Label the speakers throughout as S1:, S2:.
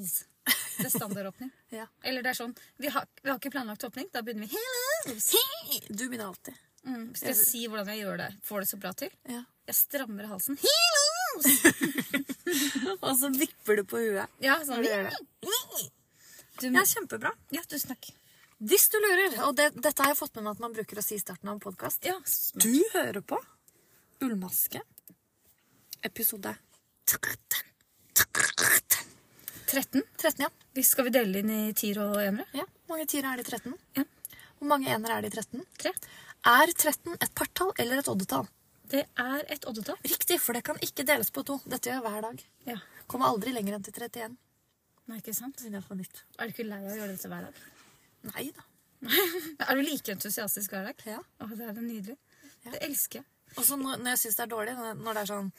S1: det er standardåpning.
S2: Ja.
S1: Eller det er sånn vi har, vi har ikke planlagt åpning. Da begynner vi Hello!
S2: Du begynner alltid.
S1: Mm, skal jeg si hvordan jeg gjør det? Får det så bra til?
S2: Ja.
S1: Jeg strammer halsen.
S2: Og så vipper du på huet.
S1: Ja, sånn.
S2: Når du gjør det.
S1: Du,
S2: Ja, kjempebra.
S1: ja, tusen takk.
S2: Hvis du lurer, og det, dette har jeg fått med meg at man bruker å si i starten av en podkast
S1: Ja, s-
S2: Du hører på Ullmaske, episode 13.
S1: 13.
S2: 13, ja.
S1: Vi- Skal vi dele inn i tier og enere?
S2: ja. Hvor mange tiere er det i 13?
S1: Ja.
S2: Hvor mange enere er det i 13?
S1: Tre.
S2: Er 13 et partall eller et oddetall?
S1: Det er et oddetall.
S2: Riktig, for det kan ikke deles på to. Dette gjør jeg hver dag.
S1: Ja.
S2: Kommer aldri lenger enn til 31.
S1: Nei, ikke sant?
S2: Siden jeg får nytt.
S1: Er du ikke lei av å gjøre dette hver dag?
S2: Nei da.
S1: Er du like entusiastisk hver dag?
S2: Ja.
S1: Å, det er jo nydelig. Det elsker jeg.
S2: Og så når, når jeg syns det er dårlig, når- når det er sånn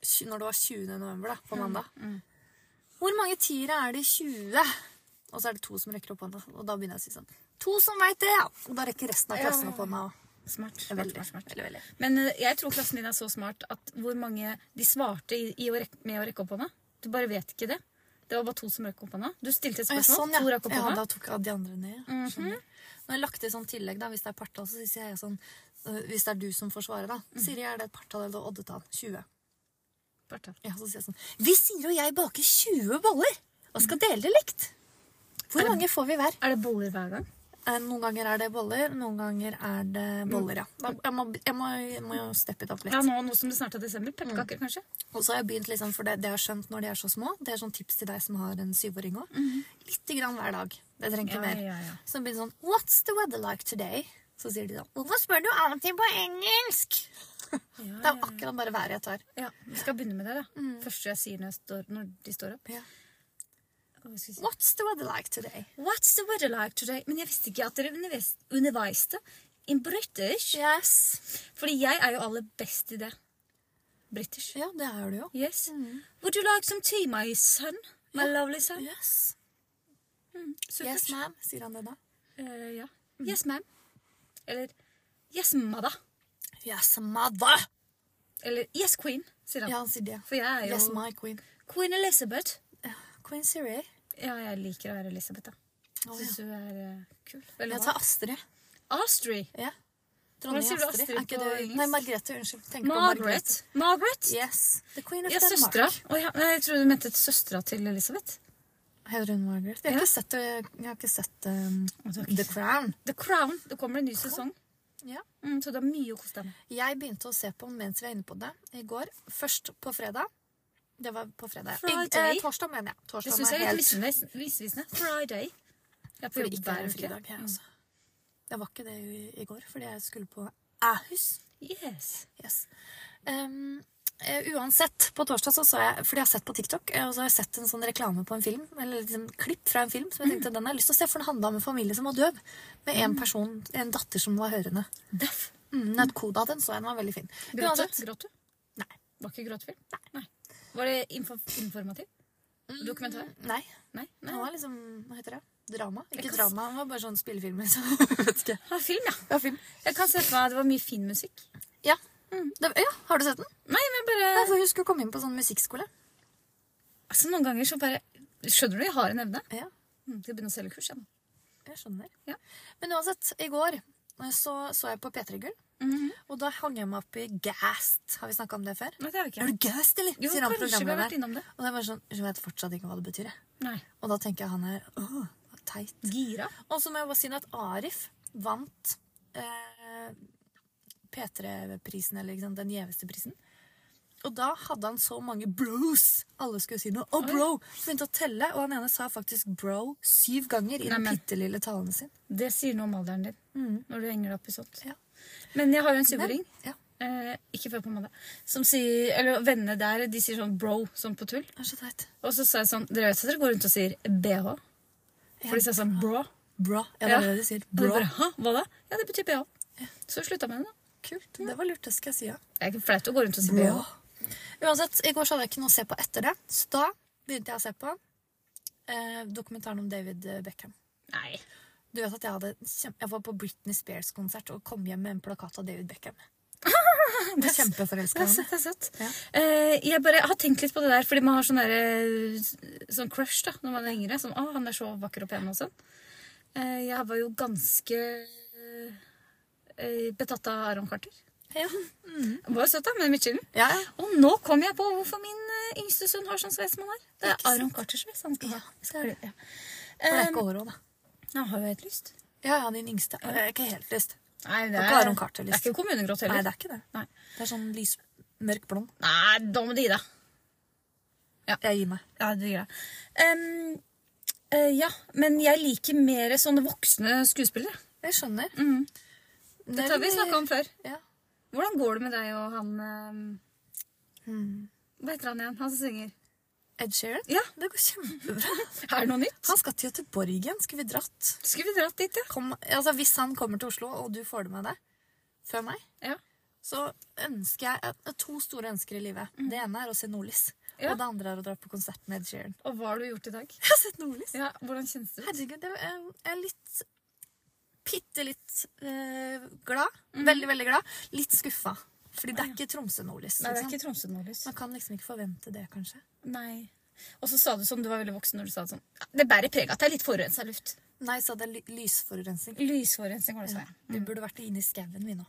S2: tj- Når det var 20. november, da,
S1: Mm,
S2: på mandag Hvor mange tiere er det i 20? Og så er det to som rekker opp hånda. Og da begynner jeg å si sånn To som veit det, ja! Og da rekker resten av klassen opp hånda.
S1: Smart. smart,
S2: Veldig,
S1: smart, smart.
S2: veldig, veldig.
S1: Men eh, jeg tror klassen din er så smart at hvor mange de svarte i, i å rekke, med å rekke opp hånda. Du bare vet ikke det. Det var bare to som rakk opp hånda. Du stilte et
S2: Ja,
S1: spørsmål.
S2: sånn, ja.
S1: To rakk opp
S2: ja,
S1: hånda. Mhm.
S2: da tok jeg de andre ned. ja. Skjønner. Når jeg har lagt til sånn tillegg, da, hvis det er partall, så sier jeg sånn øh, Hvis det er du som får svare, da.
S1: Mhm.
S2: Siri, er det et partall eller et oddetall? 20.
S1: Partall.
S2: Ja, så sier jeg sånn Hvis Siri og jeg baker 20 boller og
S1: Mhm.
S2: skal dele det likt, hvor mange får vi hver?
S1: Er det boller hver gang?
S2: Eh, Noen ganger er det boller, noen ganger er det boller, ja. Da, jeg, må, jeg, må, jeg må jo steppe det opp
S1: Ja,
S2: litt.
S1: nå, nå som det snart er desember. Pepperkaker, kanskje?
S2: Og så har jeg begynt liksom, for det, det jeg har skjønt når de er så små, det er sånn tips til deg som har en syvåring òg. Lite grann hver dag. Det trenger ikke
S1: Ja,
S2: mer.
S1: ja, ja.
S2: Så det blir det sånn What's the weather like today? Så sier de sånn Hvorfor spør du alltid på engelsk? Det er jo akkurat bare været jeg tar.
S1: Ja, Mm. Vi skal begynne med det. da. Første jeg sier når, jeg står, når de står opp.
S2: Ja.
S1: Hva skal jeg si?
S2: What's the weather like today?
S1: What's the weather like today? Men jeg visste ikke at dere undervis- underviste in British.
S2: Yes.
S1: Fordi jeg er jo aller best i det. British.
S2: Ja, det er du jo.
S1: Yes. Would you like some tea, my son? My lovely son?
S2: Yes.
S1: Supert.
S2: Yes, ma'am, sier han det da.
S1: Eh, ja.
S2: Mm.
S1: Yes, ma'am. Eller Yes, mother.
S2: Yes, mother.
S1: Eller Yes, queen, sier han.
S2: Ja, han sier det.
S1: For jeg er jo
S2: Yes, my queen.
S1: Queen Elizabeth.
S2: Queen Siri.
S1: Ja, jeg liker å være Elizabeth, da.
S2: Å,
S1: Syns du er eh, kul? Eller
S2: Jeg
S1: hva?
S2: tar Astrid.
S1: Astrid.
S2: Ja.
S1: Hvordan sier du Astrid
S2: Er ikke
S1: på
S2: det-
S1: engelsk?
S2: Nei, Margrethe. Unnskyld. Tenk på Margrethe.
S1: Margaret. Margaret?
S2: Yes. The Queen of
S1: Ja,
S2: Denmark.
S1: søstera. Å ja. Nei, Jeg trodde du mente søstera til Elisabeth.
S2: Heter hun Margaret? Jeg har
S1: Ja.
S2: ikke sett, eh, jeg har ikke sett um,
S1: du har ikke
S2: The Crown.
S1: The Crown. Det kommer en ny sesong.
S2: Ja.
S1: Mm, så det er mye å kose deg med.
S2: Jeg begynte å se på den mens vi er inne på det i går. Først på fredag. Det var på fredag. I,
S1: Friday.
S2: eh, torsdag, mener jeg.
S1: Det
S2: Torsdag
S1: syns jeg
S2: er
S1: er
S2: helt
S1: litt visvisende- visvisende. Friday. Jeg er på
S2: fordi
S1: jobb
S2: ikke det er
S1: hver
S2: en
S1: uke.
S2: fridag. Jeg, altså. jeg var ikke det i, i går, fordi jeg skulle på Ahus.
S1: Yes.
S2: Yes. Um, eh, uansett, på torsdag så så jeg Fordi jeg har sett på TikTok, eh, og så har jeg sett en sånn reklame på en film, eller et sånn klipp fra en film, som jeg tenkte
S1: Mm.
S2: den har jeg lyst til å se, for den handla om en familie som var døv. Med en person, en datter som var hørende.
S1: Deff.
S2: Mm, Nødkoda, den så jeg, den var veldig fin.
S1: Gråt
S2: Uansett,
S1: du? Gråt du?
S2: Nei.
S1: Var ikke gråtefilm? Nei. Var det info informativ? Mm, Dokumentar?
S2: mm, Nei.
S1: Nei.
S2: Han
S1: Nei.
S2: var liksom Hva heter det? Drama? Ikke
S1: kan s-
S2: drama, han var bare sånn spillefilm. Liksom. Vet ikke.
S1: Ja, film, ja.
S2: Ja, film.
S1: Jeg kan se for meg at det var mye fin musikk.
S2: Ja. Det, ja, har du sett den?
S1: Mm. Nei, men jeg bare
S2: Jeg får huske å komme inn på sånn musikkskole.
S1: Altså, Noen ganger så bare Skjønner du, jeg har en evne.
S2: Ja.
S1: Mm, Skal begynne å selge kurs, jeg nå.
S2: Jeg skjønner.
S1: Ja.
S2: Men uansett, i går eh, så, så jeg på P3 Gull, og da hang jeg meg opp i Gast. Har vi snakka om det før?
S1: Nei, det har jeg
S2: Er
S1: ikke.
S2: du gast, eller?
S1: Jo,
S2: sier han
S1: kanskje vi har vært
S2: programlederen.
S1: innom det.
S2: Og det er bare sånn, jeg vet fortsatt ikke hva det betyr. jeg.
S1: Nei.
S2: Og da tenker jeg han er åh, teit.
S1: Gira?
S2: Og så må jeg bare si at Arif vant eh, P3-prisen, eller ikke sant, den gjeveste prisen. Og da hadde han så mange bros. Alle skulle si noe. Og bro! Så begynte jeg å telle, og han ene sa faktisk bro syv ganger i den
S1: Neimen.
S2: bitte lille talen sin.
S1: Det sier noe om alderen din
S2: Mm.
S1: når du henger deg opp i sånt.
S2: Ja.
S1: Men jeg har jo en syvåring,
S2: Ja.
S1: eh, ikke før på mandag, som sier Eller vennene der, de sier sånn bro, sånn på tull.
S2: Det er så teit.
S1: Og så sa jeg sånn Dere vet at dere går rundt og sier bh? For de sier sånn bro.
S2: Bra. Ja, det
S1: Ja.
S2: er det de sier.
S1: Og jeg
S2: Bra.
S1: bare, Hæ, hva da? Ja, det betyr bh. Så vi slutta med det, da.
S2: Kult. Det var lurt, det skal jeg si. Ja.
S1: Det er ikke flaut å gå rundt og si bh.
S2: Uansett, i går så hadde jeg ikke noe å se på etter det, så da begynte jeg å se på eh, dokumentaren om David eh, Beckham.
S1: Nei.
S2: Du vet at jeg, hadde, kjem- jeg var på Britney Spears-konsert og kom hjem med en plakat av David Beckham. Du er
S1: s-
S2: kjempeforelska.
S1: Det er søtt. det er søtt.
S2: Ja.
S1: Eh, jeg bare har tenkt litt på det der, fordi man har sånn derre, eh, sånn crush da, når man er yngre. Som 'Å, han er så vakker og pen' og sånn. Eh, jeg var jo ganske eh, betatt av Aron Carter.
S2: Ja.
S1: Han var jo søt, da, med midtskillen.
S2: Ja,
S1: Og nå kom jeg på hvorfor min eh, yngste sønn har sånn sveis som han har. Det
S2: Ikke
S1: er
S2: sant?
S1: Aron Carter-sveis han skal ha. Skal det, ja.
S2: For det er
S1: Eh,
S2: ikke overhode.
S1: han har jo helt lyst.
S2: Ja, ja, din yngste. Det er ikke helt lyst.
S1: Nei, det
S2: er
S1: er,
S2: ikke Aron Carter-lyst.
S1: det er ikke kommunegrått
S2: Nei,
S1: heller.
S2: det er ikke det.
S1: Nei.
S2: Det er sånn lys, mørk blond.
S1: Nei, da må du gi deg.
S2: Jeg gir meg.
S1: Ja, det gjør jeg. Em, eh, ja, men jeg liker mer sånne voksne skuespillere.
S2: Jeg skjønner.
S1: Mhm.
S2: Det
S1: Dette har vi snakka om før.
S2: Ja.
S1: Hvordan går det med deg og han em,
S2: Mm.
S1: Hva heter han igjen? Han som synger.
S2: Ed Sheeran?
S1: Ja.
S2: Det går kjempebra.
S1: Er det noe nytt?
S2: Han skal til Göteborg igjen. Skulle vi dratt?
S1: Skulle vi dratt dit, ja?
S2: Kom, altså, hvis han kommer til Oslo, og du får det med deg før meg,
S1: Ja.
S2: så ønsker jeg jeg har to store ønsker i livet. Det ene er å se Nordlys.
S1: Mm. Ja.
S2: Og det andre er å dra på konsert med Ed Sheeran.
S1: Og hva har du gjort i dag?
S2: Jeg har sett Nordlys.
S1: Ja, Hvordan kjennes det? ut?
S2: Herregud, jeg er- jeg er litt Bitte litt eh, glad.
S1: Mm.
S2: Veldig, veldig glad. Litt skuffa. Fordi det er ikke Tromsø-Nordlys.
S1: Nei, det er
S2: ikke sant?
S1: ikke Tromsø Nordlys.
S2: Man kan liksom ikke forvente det, kanskje.
S1: Nei. Og så sa du sånn, du var veldig voksen når du sa det sånn. «Ja, Det bærer preg av at det er litt forurensa luft.
S2: Nei, så det er ly lysforurensning.
S1: Lysforurensning, var det du sa.
S2: Vi burde vært inne i skauen, vi nå.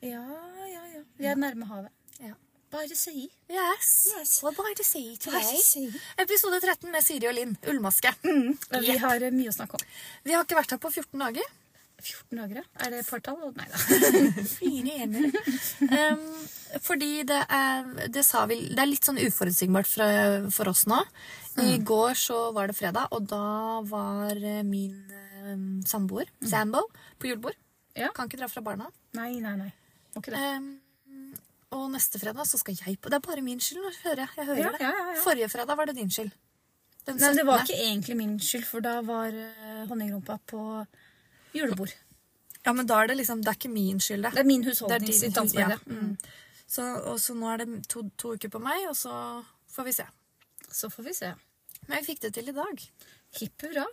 S1: Ja, ja, ja. Vi er nærme havet.
S2: Ja.
S1: Bare se i.
S2: Yes.
S1: Yes.
S2: What about to say
S1: Bare
S2: today?
S1: se i.
S2: Episode 13 med Siri og Linn. Ullmaske.
S1: Vi har eh, mye å snakke om.
S2: Vi har ikke vært her på 14 dager.
S1: 14 dager, ja? Er det partall? Nei da.
S2: Fire ener. um, fordi det er, det, sa vi, det er litt sånn uforutsigbart fra, for oss nå. I
S1: Mm.
S2: går så var det fredag, og da var eh, min um, samboer, Sambo, på julebord.
S1: Mm. Ja.
S2: Kan ikke dra fra barna.
S1: Nei, nei, nei. Må ikke det.
S2: Um, og neste fredag så skal jeg på Det er bare min skyld, nå hører jeg. jeg hører
S1: Ja,
S2: det.
S1: ja, ja, ja.
S2: Forrige fredag var det din skyld. Den
S1: Nei, det
S2: 17..
S1: var ikke egentlig min skyld, for da var eh, honningrumpa på julebord.
S2: Ja, men da er det liksom Det er ikke min skyld,
S1: Det er min
S2: Det er
S1: husholdning
S2: din
S1: sitt
S2: hus-
S1: ansvar.
S2: ja.
S1: det. Mm.
S2: Så, og så nå er det to, to uker på meg, og så får vi se.
S1: Så får vi se.
S2: Men jeg fikk det til i dag.
S1: Hipp hurra.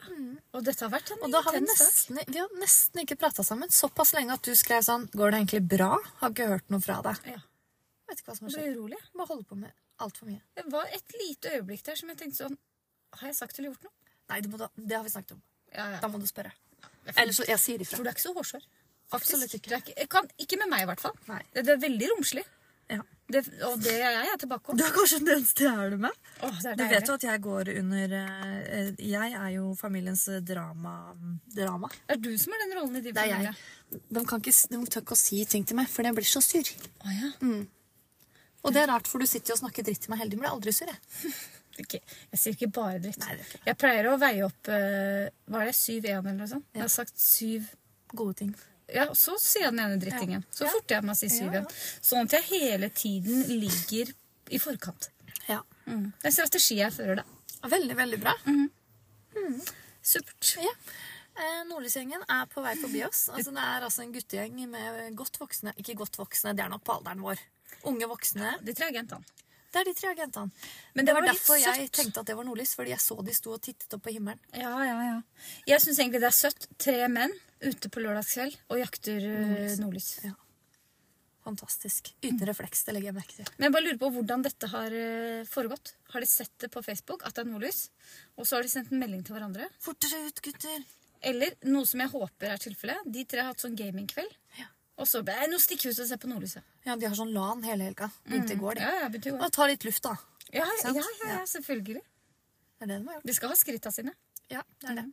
S1: Og dette har vært en
S2: Mm. Og da har vi
S1: intens dag.
S2: nesten, vi har nesten ikke prata sammen såpass lenge at du skrev sånn Går det egentlig bra? Har ikke hørt noe fra deg.
S1: Ja.
S2: Jeg vet ikke hva som har
S1: Jeg
S2: skjedd.
S1: ble urolig.
S2: Bare holder på med altfor mye.
S1: Det var et lite øyeblikk der som jeg tenkte sånn Har jeg sagt eller gjort noe?
S2: Nei, det, må du, det har vi snakket om.
S1: Ja, ja.
S2: Da må du spørre.
S1: Jeg får-
S2: Eller så jeg sier
S1: For
S2: ifra.
S1: du er ikke så hårsår. faktisk.
S2: Absolutt ikke.
S1: Du er ikke, jeg kan, ikke med meg, i hvert fall.
S2: Nei.
S1: Det, det er veldig romslig.
S2: Ja.
S1: Det, og det er jeg, jeg er tilbake om.
S2: Du er kanskje den eneste jeg er det med.
S1: Åh, det er
S2: Du
S1: deilig.
S2: vet jo at jeg går under eh, eh, Jeg er jo familiens eh, drama... Drama?
S1: Det er du som har den rollen i din
S2: Det er
S1: familie.
S2: jeg. De, kan ikke, s- de tør ikke å si ting til meg, for jeg Mm. blir så sur.
S1: Å, ja.
S2: Og det er rart, for du sitter jo og snakker dritt til meg hele tiden. men Jeg blir aldri sur, jeg.
S1: Ikke- Jeg sier ikke bare dritt.
S2: Nei, det er ikke
S1: Jeg pleier å veie opp eh, Hva er det? 7-1 eller noe sånt? Jeg har sagt 7
S2: Gode ting.
S1: Ja, og så sier jeg den ene drittingen. Så
S2: Ja.
S1: forter jeg meg å si 7-1.
S2: Ja, ja.
S1: Sånn at jeg hele tiden ligger i forkant. Mm.
S2: Ja.
S1: Det er en strategi jeg fører, da.
S2: Veldig, veldig bra.
S1: Supert.
S2: Ja. Eh, Nordlysgjengen er på vei forbi oss. Altså, det er altså en guttegjeng med godt voksne Ikke godt voksne, det er nok på alderen vår. Unge voksne.
S1: De tre agentene.
S2: Det er de tre agentene.
S1: Men
S2: det,
S1: det
S2: var,
S1: var litt
S2: derfor jeg
S1: søtt.
S2: tenkte at det var nordlys, fordi jeg så de sto og tittet opp på himmelen.
S1: Ja, ja, ja. Jeg syns egentlig det er søtt. Tre menn ute på lørdagskveld og jakter eh, nordlys.
S2: Fantastisk. Uten refleks, det legger jeg merke til.
S1: Men jeg bare lurer på hvordan dette har eh, foregått. Har de sett det på Facebook at det er nordlys? Og så har de sendt en melding til hverandre?
S2: Fortere ut, gutter!
S1: Eller noe som jeg håper er tilfellet. De tre har hatt sånn gamingkveld.
S2: Ja.
S1: Og så bare, «Nei, nå stikker vi ut og ser på Nordlyset.
S2: Ja, De har sånn LAN hele helga. Begynte i går, de.
S1: Ja, ja, betyr jo-
S2: Og ta litt luft, da.
S1: ja, ja,
S2: sant?
S1: ja, ja, selvfølgelig.
S2: Det er det de har gjort.
S1: De skal ha skritta sine.
S2: Ja, det er det.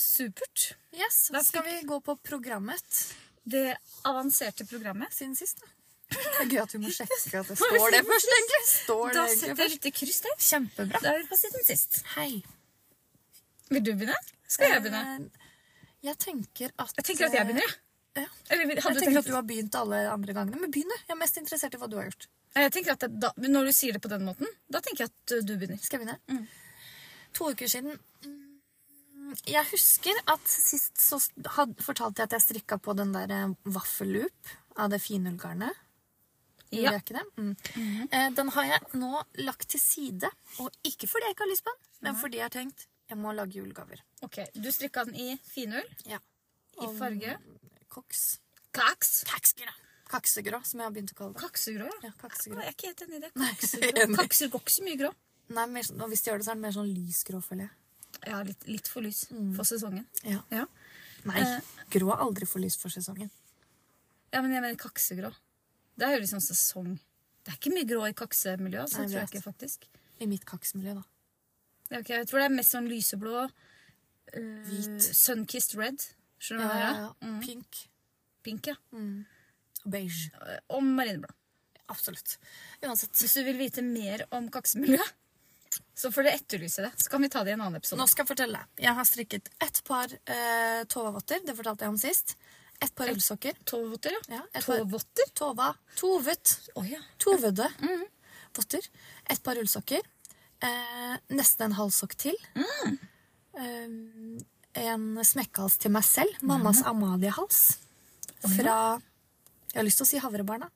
S1: Supert.
S2: Yes, Da skal vi gå på programmet
S1: Det avanserte programmet.
S2: siden sist, da. Det er gøy at vi må sjekke at det står det først, egentlig. Står det
S1: Da
S2: egentlig
S1: setter jeg
S2: først?
S1: litt kryss der.
S2: Kjempebra.
S1: Da er vi på siden sist.
S2: Hei.
S1: Vil du begynne? Skal jeg begynne?
S2: Eh, Jeg tenker at eh,
S1: Jeg tenker at jeg begynner, jeg.
S2: Ja.
S1: Eller vil- hadde
S2: Jeg
S1: du
S2: tenker
S1: tenkt
S2: at du har begynt alle andre gangene, men begynn, du. Jeg er mest interessert i hva du har gjort.
S1: Nei, jeg tenker at det, da, Når du sier det på den måten, da tenker jeg at uh, du begynner.
S2: Skal jeg begynne? To uker siden mm, Jeg husker at sist så had, fortalte jeg at jeg strikka på den der eh, vaffelloop av det finullgarnet. Gjorde
S1: Ja. Mhm.
S2: jeg ikke det? Mm. Eh, Den har jeg nå lagt til side. Og ikke fordi jeg ikke har lyst på den, men fordi jeg har tenkt jeg må lage julegaver.
S1: Ok, Du strikka den i finull,
S2: Ja.
S1: i farge.
S2: Koks.
S1: Kaks.
S2: Taxbyrå. Kaksegrå, som jeg har begynt å kalle det.
S1: Kaksegrå, ja.
S2: Ja, kaksegrå.
S1: Jeg er ikke helt enig i det.
S2: Nei,
S1: Kaksegrå.
S2: enig.
S1: Kakser går ikke så mye grå.
S2: Nei, mer, sånn- og hvis de gjør det, så er den mer sånn lysgrå, føler jeg.
S1: Ja, litt, litt for lys for sesongen.
S2: Ja.
S1: Mm. Ja.
S2: Nei,
S1: Eh.
S2: grå er aldri for lys for sesongen.
S1: ja, men jeg mener kaksegrå. Det er jo liksom sesong. Det er ikke mye grå i kaksemiljøet, altså,
S2: Nei, jeg
S1: tror jeg
S2: vet.
S1: ikke faktisk.
S2: I mitt kaksmiljø, da.
S1: Ja, ok, jeg tror det er mest sånn lyseblå. eh,
S2: Hvit.
S1: Sunkissed red. Skjønner du
S2: Ja,
S1: hva
S2: ja,
S1: jeg mener?
S2: ja. Pink
S1: Pink, ja.
S2: og beige.
S1: Og marineblå.
S2: Absolutt. Uansett.
S1: Hvis du vil vite mer om kaksemiljøet, så får du etterlyse det. Så kan vi ta det i en annen episode.
S2: Nå skal jeg fortelle deg. Jeg har strikket ett par eh, tåvotter, det fortalte jeg om sist. Ett par ullsokker.
S1: Tåvotter, ja.
S2: Ja, et par-
S1: Tåvotter?
S2: Tova. Tovet.
S1: Å ja.
S2: Tovødde. Mm. Votter. Et par ullsokker. Eh, nesten en halvsokk til. Mm. Eh, en smekkehals til meg selv. Mammas Amalie-hals. Fra Jeg har lyst til å si Havrebarna.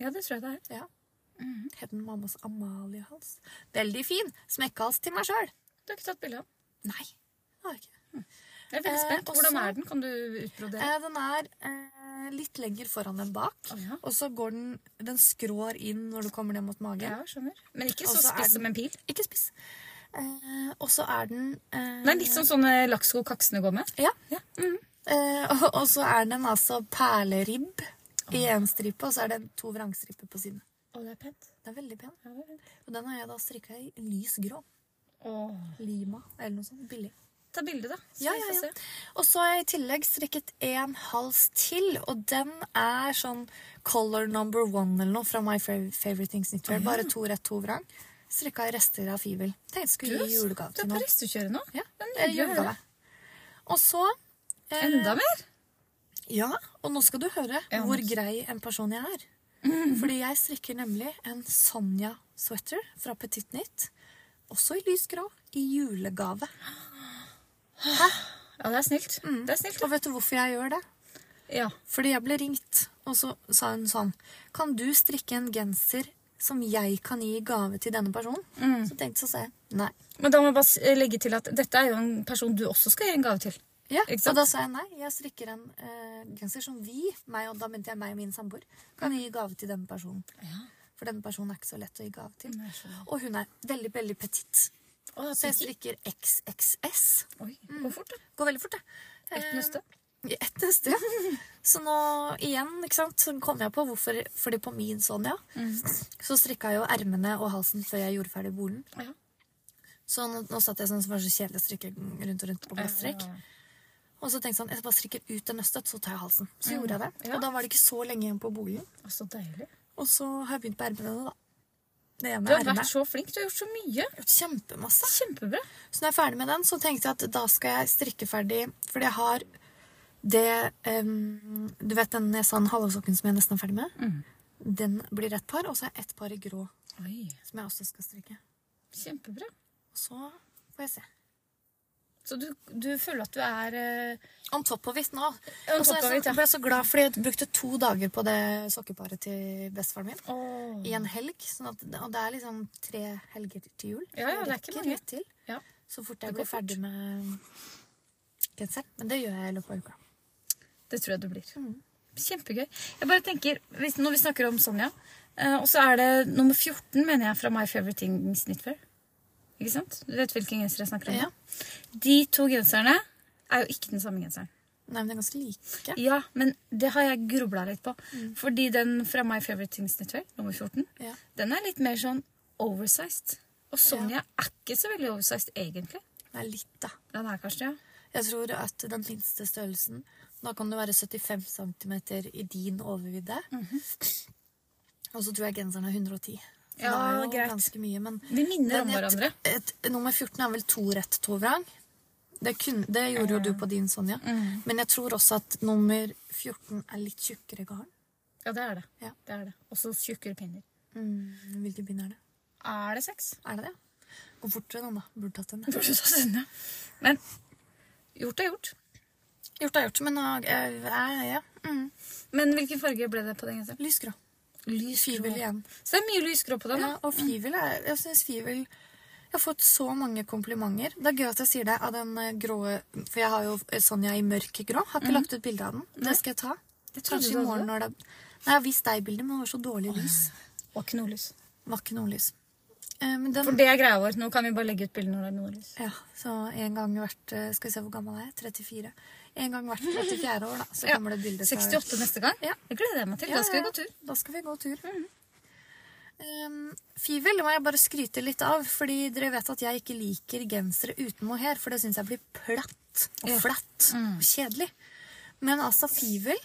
S1: Ja, det tror jeg det er.
S2: Ja. Het den Mammas Amalie-hals? Veldig fin! Smekkehals til meg sjøl.
S1: Du har ikke tatt bilde av den.
S2: Nei. det har jeg ikke.
S1: Jeg er veldig
S2: Eh,
S1: spent. Hvordan
S2: også-
S1: er den? Kan du utbrodere?
S2: Eh, den er eh, litt lenger foran enn bak.
S1: Å, ja.
S2: Og så går den Den skrår inn når du kommer ned mot magen.
S1: Ja, skjønner. Men ikke så
S2: Også er
S1: spiss
S2: den-
S1: som en pil.
S2: Ikke spiss. Eh, og så er den eh,
S1: Den er litt som sånne lakksko kaksene går med.
S2: Ja.
S1: Ja.
S2: Eh, og, og så er den altså perleribb i én stripe, og så er det to vrangstriper på siden.
S1: Å, det er pent.
S2: Den er veldig pen.
S1: Ja, det er pent.
S2: Og den har jeg da strikka i lys grå.
S1: Åh.
S2: Lima eller noe sånt. Billig.
S1: Ta bilde, da. så
S2: Ja,
S1: vi
S2: ja,
S1: får
S2: ja.
S1: se.
S2: Og så har jeg i tillegg strikket en hals til, og den er sånn color number one eller noe fra My Fav- Favorite Things
S1: Ah.
S2: Knitwear. Bare to rett, to vrang. Strikka i rester av fivel. Tenkte jeg skulle gi julegave
S1: Du
S2: til
S1: er på
S2: noen.
S1: restekjøret nå?
S2: Ja,
S1: Men
S2: eh,
S1: hyggelig å høre.
S2: julegave. Og så eh,
S1: Enda mer?
S2: Ja, og nå skal du høre
S1: Ja, Mm. nå-
S2: hvor grei en person jeg er. Fordi jeg strikker nemlig en Sonja-sweater fra Petit Nytt, også i lys grå, i julegave.
S1: Ja, det er snilt. Det er snilt.
S2: Og vet du hvorfor jeg gjør det?
S1: Ja.
S2: Fordi jeg ble ringt, og så sa hun sånn Kan du strikke en genser som jeg kan gi i gave til denne personen?
S1: Mm.
S2: Så tenkte jeg så sa jeg nei.
S1: Men da må jeg bare s- legge til at dette er jo en person du også skal gi en gave til.
S2: Ja,
S1: Ikke
S2: Og
S1: sant?
S2: da sa jeg nei. Jeg strikker en eh, genser som vi, meg, og da mente jeg meg og min samboer, kan gi i gave til denne personen.
S1: Mm. Ja. Mm.
S2: For denne personen er ikke så lett å gi gave til.
S1: Nei, jeg skjønner.
S2: Og hun er veldig, veldig petit.
S1: Å,
S2: Så jeg strikker XXS.
S1: Oi, hvor fort, da?
S2: Går veldig fort, det.
S1: Ett nøste.
S2: Eh, Ett nøste, ja. Så nå igjen, ikke sant, så kom jeg på hvorfor Fordi på min sånn, Sonja
S1: mm.
S2: så strikka jeg jo ermene og halsen før jeg gjorde ferdig bolen.
S1: Ja.
S2: Så nå, nå satt jeg sånn som var så kjedelig å strikke rundt og rundt på plaststrikk. Og så tenkte jeg sånn, jeg bare strikker ut en nøstet, så tar jeg halsen. Så gjorde jeg det.
S1: Ja.
S2: Og da var det ikke så lenge igjen på bolen.
S1: Å, Så deilig.
S2: Og så har jeg begynt på ermene, da. Det
S1: Du
S2: ene
S1: har
S2: ermet.
S1: vært så flink. Du har gjort så mye.
S2: Jeg har gjort Kjempemasse.
S1: Kjempebra.
S2: Så når jeg er ferdig med den, så tenkte jeg at da skal jeg strikke ferdig, fordi jeg har det em, Du vet den jeg sa den halvsokken som jeg nesten er ferdig med?
S1: Mm.
S2: Den blir ett par, og så er ett par i grå
S1: Oi,
S2: som jeg også skal strikke.
S1: kjempebra.
S2: Og så får jeg se.
S1: Så du, du føler at du er eh,
S2: On top of it nå.
S1: On
S2: Og så
S1: top of
S2: er jeg sånn,
S1: it, ja.
S2: så- ble jeg så glad fordi jeg brukte to dager på det sokkeparet til bestefaren min. I en helg. Sånn at, og det er liksom tre helger til jul.
S1: Ja, ja, det er ikke
S2: Rekker
S1: mange.
S2: litt til.
S1: Ja.
S2: Så fort jeg
S1: Det går
S2: blir ferdig med genseren. Men det gjør jeg i løpet av uka.
S1: Det tror jeg du blir.
S2: Mm.
S1: Kjempegøy. Jeg bare tenker, hvis, Når vi snakker om Sonja, eh, og så er det nummer 14, mener jeg, fra My Favorite Things Knitwear. Ikke sant? Du vet hvilken genser jeg snakker om?
S2: Ja.
S1: De to genserne er jo ikke den samme genseren.
S2: Nei, men det er ganske like.
S1: Ja, men det har jeg grubla litt på.
S2: Mm.
S1: Fordi den fra My Favorite Things Knitwear, nummer 14,
S2: Ja.
S1: den er litt mer sånn oversized. Og Sonja er ikke så veldig oversized, egentlig.
S2: Det er litt, da.
S1: Den er kanskje det, ja.
S2: Jeg tror at den minste størrelsen Da kan det være 75 cm i din overvidde. Og så tror jeg genseren er 110.
S1: Mhm.
S2: Så
S1: Ja,
S2: det er jo
S1: greit.
S2: ganske mye, men
S1: Vi minner om
S2: Men jeg-
S1: hverandre.
S2: Et, nummer 14 er vel to rett, to vrang. Det, kun, det gjorde jo du på din, Sonja. Men jeg tror også at nummer 14 er litt tjukkere garn.
S1: Ja, det er det.
S2: Ja.
S1: det, er det. Og så tjukkere pinner.
S2: Hvilken bind er det?
S1: Er det seks?
S2: Er det det? Gå fortere nå, da. Burde tatt den.
S1: Burde ta denne. Men gjort er gjort.
S2: Gjort er gjort, men nå- eh, ja, ja. Mm.
S1: Men hvilken farge ble det på den genseren?
S2: Lysgrå.
S1: Lysgrå.
S2: Fivel igjen.
S1: Så det er mye lysgrå på den.
S2: Ja,
S1: da.
S2: og fivel er, jeg synes fivel Jeg har fått så mange komplimenter. Det er gøy at jeg sier det av den eh, grå For Mm. jeg har jo Sonja i mørkegrå. Har ikke lagt ut bilde av den. Det skal jeg ta.
S1: Det trodde
S2: Kanskje
S1: du
S2: i morgen
S1: hadde.
S2: når det Nei, jeg har vist deg bildet, men det var så dårlig lys.
S1: Og ikke noe lys.
S2: Det var ikke noe lys. Eh, men den,
S1: For det er greia vår. Nå kan vi bare legge ut bilder når det er noe lys.
S2: Ja, så en gang hvert eh, Skal vi se hvor gammel jeg er? 34. En gang hvert 34. år, da. Så
S1: Ja,
S2: kommer det bilde
S1: 68 neste gang.
S2: Ja.
S1: Det gleder jeg meg til. Da skal vi gå tur. Mhm.
S2: Da skal vi gå tur. Um, Fivel det må jeg bare skryte litt av, fordi dere vet at jeg ikke liker gensere uten mohair, for det syns jeg blir platt og
S1: Ja. Mm.
S2: flatt og kjedelig. Men altså, Fivel,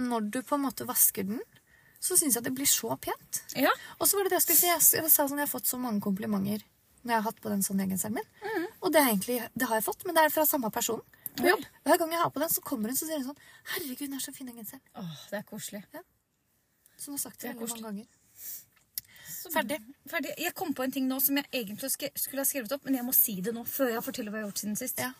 S2: når du på en måte vasker den, så syns jeg det blir så pent.
S1: Ja.
S2: Og så var det det jeg skulle si. Jeg s- Jeg sa sånn, jeg har fått så mange komplimenter når jeg har hatt på den sånn genseren min. Og det, er egentlig, det har jeg fått, men det er fra samme person på
S1: Oi.
S2: jobb. Hver gang jeg har på den, så kommer hun så sier hun sånn Herregud, den er så fin, den genseren.
S1: Åh, det er koselig.
S2: Som du har sagt
S1: Det er
S2: veldig mange
S1: koselig.
S2: ganger.
S1: Ferdig. Ferdig. Jeg kom på en ting nå som jeg egentlig sk- skulle ha skrevet opp, men jeg må si det nå. Før jeg forteller hva jeg har gjort siden sist.
S2: Ja.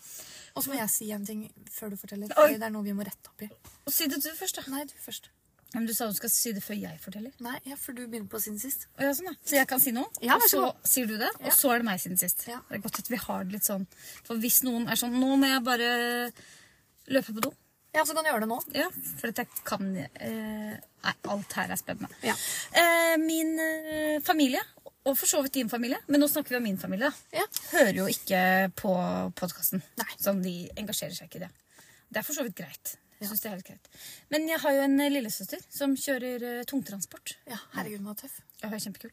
S2: Og så må jeg si en ting før du forteller.
S1: Oi.
S2: Fordi det er noe vi må rette opp i.
S1: Og si det du først, da.
S2: Nei, du først.
S1: Men du sa du skal si det før jeg forteller.
S2: Nei, ja, for du begynner på siden sist.
S1: Og ja, sånn, ja. Så jeg kan si noe,
S2: Ja,
S1: og
S2: vær
S1: så
S2: så
S1: sier du det, og
S2: Ja.
S1: så er det meg siden sist.
S2: Ja.
S1: Det er godt at vi har det litt sånn. For hvis noen er sånn Nå må jeg bare løpe på do.
S2: Ja, så kan du gjøre det nå.
S1: Ja, for at jeg kan eh, Nei, alt her er spennende.
S2: Ja.
S1: Eh, min eh, familie, og for så vidt din familie, men nå snakker vi om min familie, da,
S2: Ja.
S1: hører jo ikke på podkasten.
S2: Nei.
S1: Sånn, de engasjerer seg ikke i det. Det er for så vidt greit.
S2: Ja.
S1: Jeg synes det er helt greit. Men jeg har jo en eh, lillesøster som kjører eh, tungtransport.
S2: ja herregud, hun var tøff.
S1: Ja, hun er kjempekul.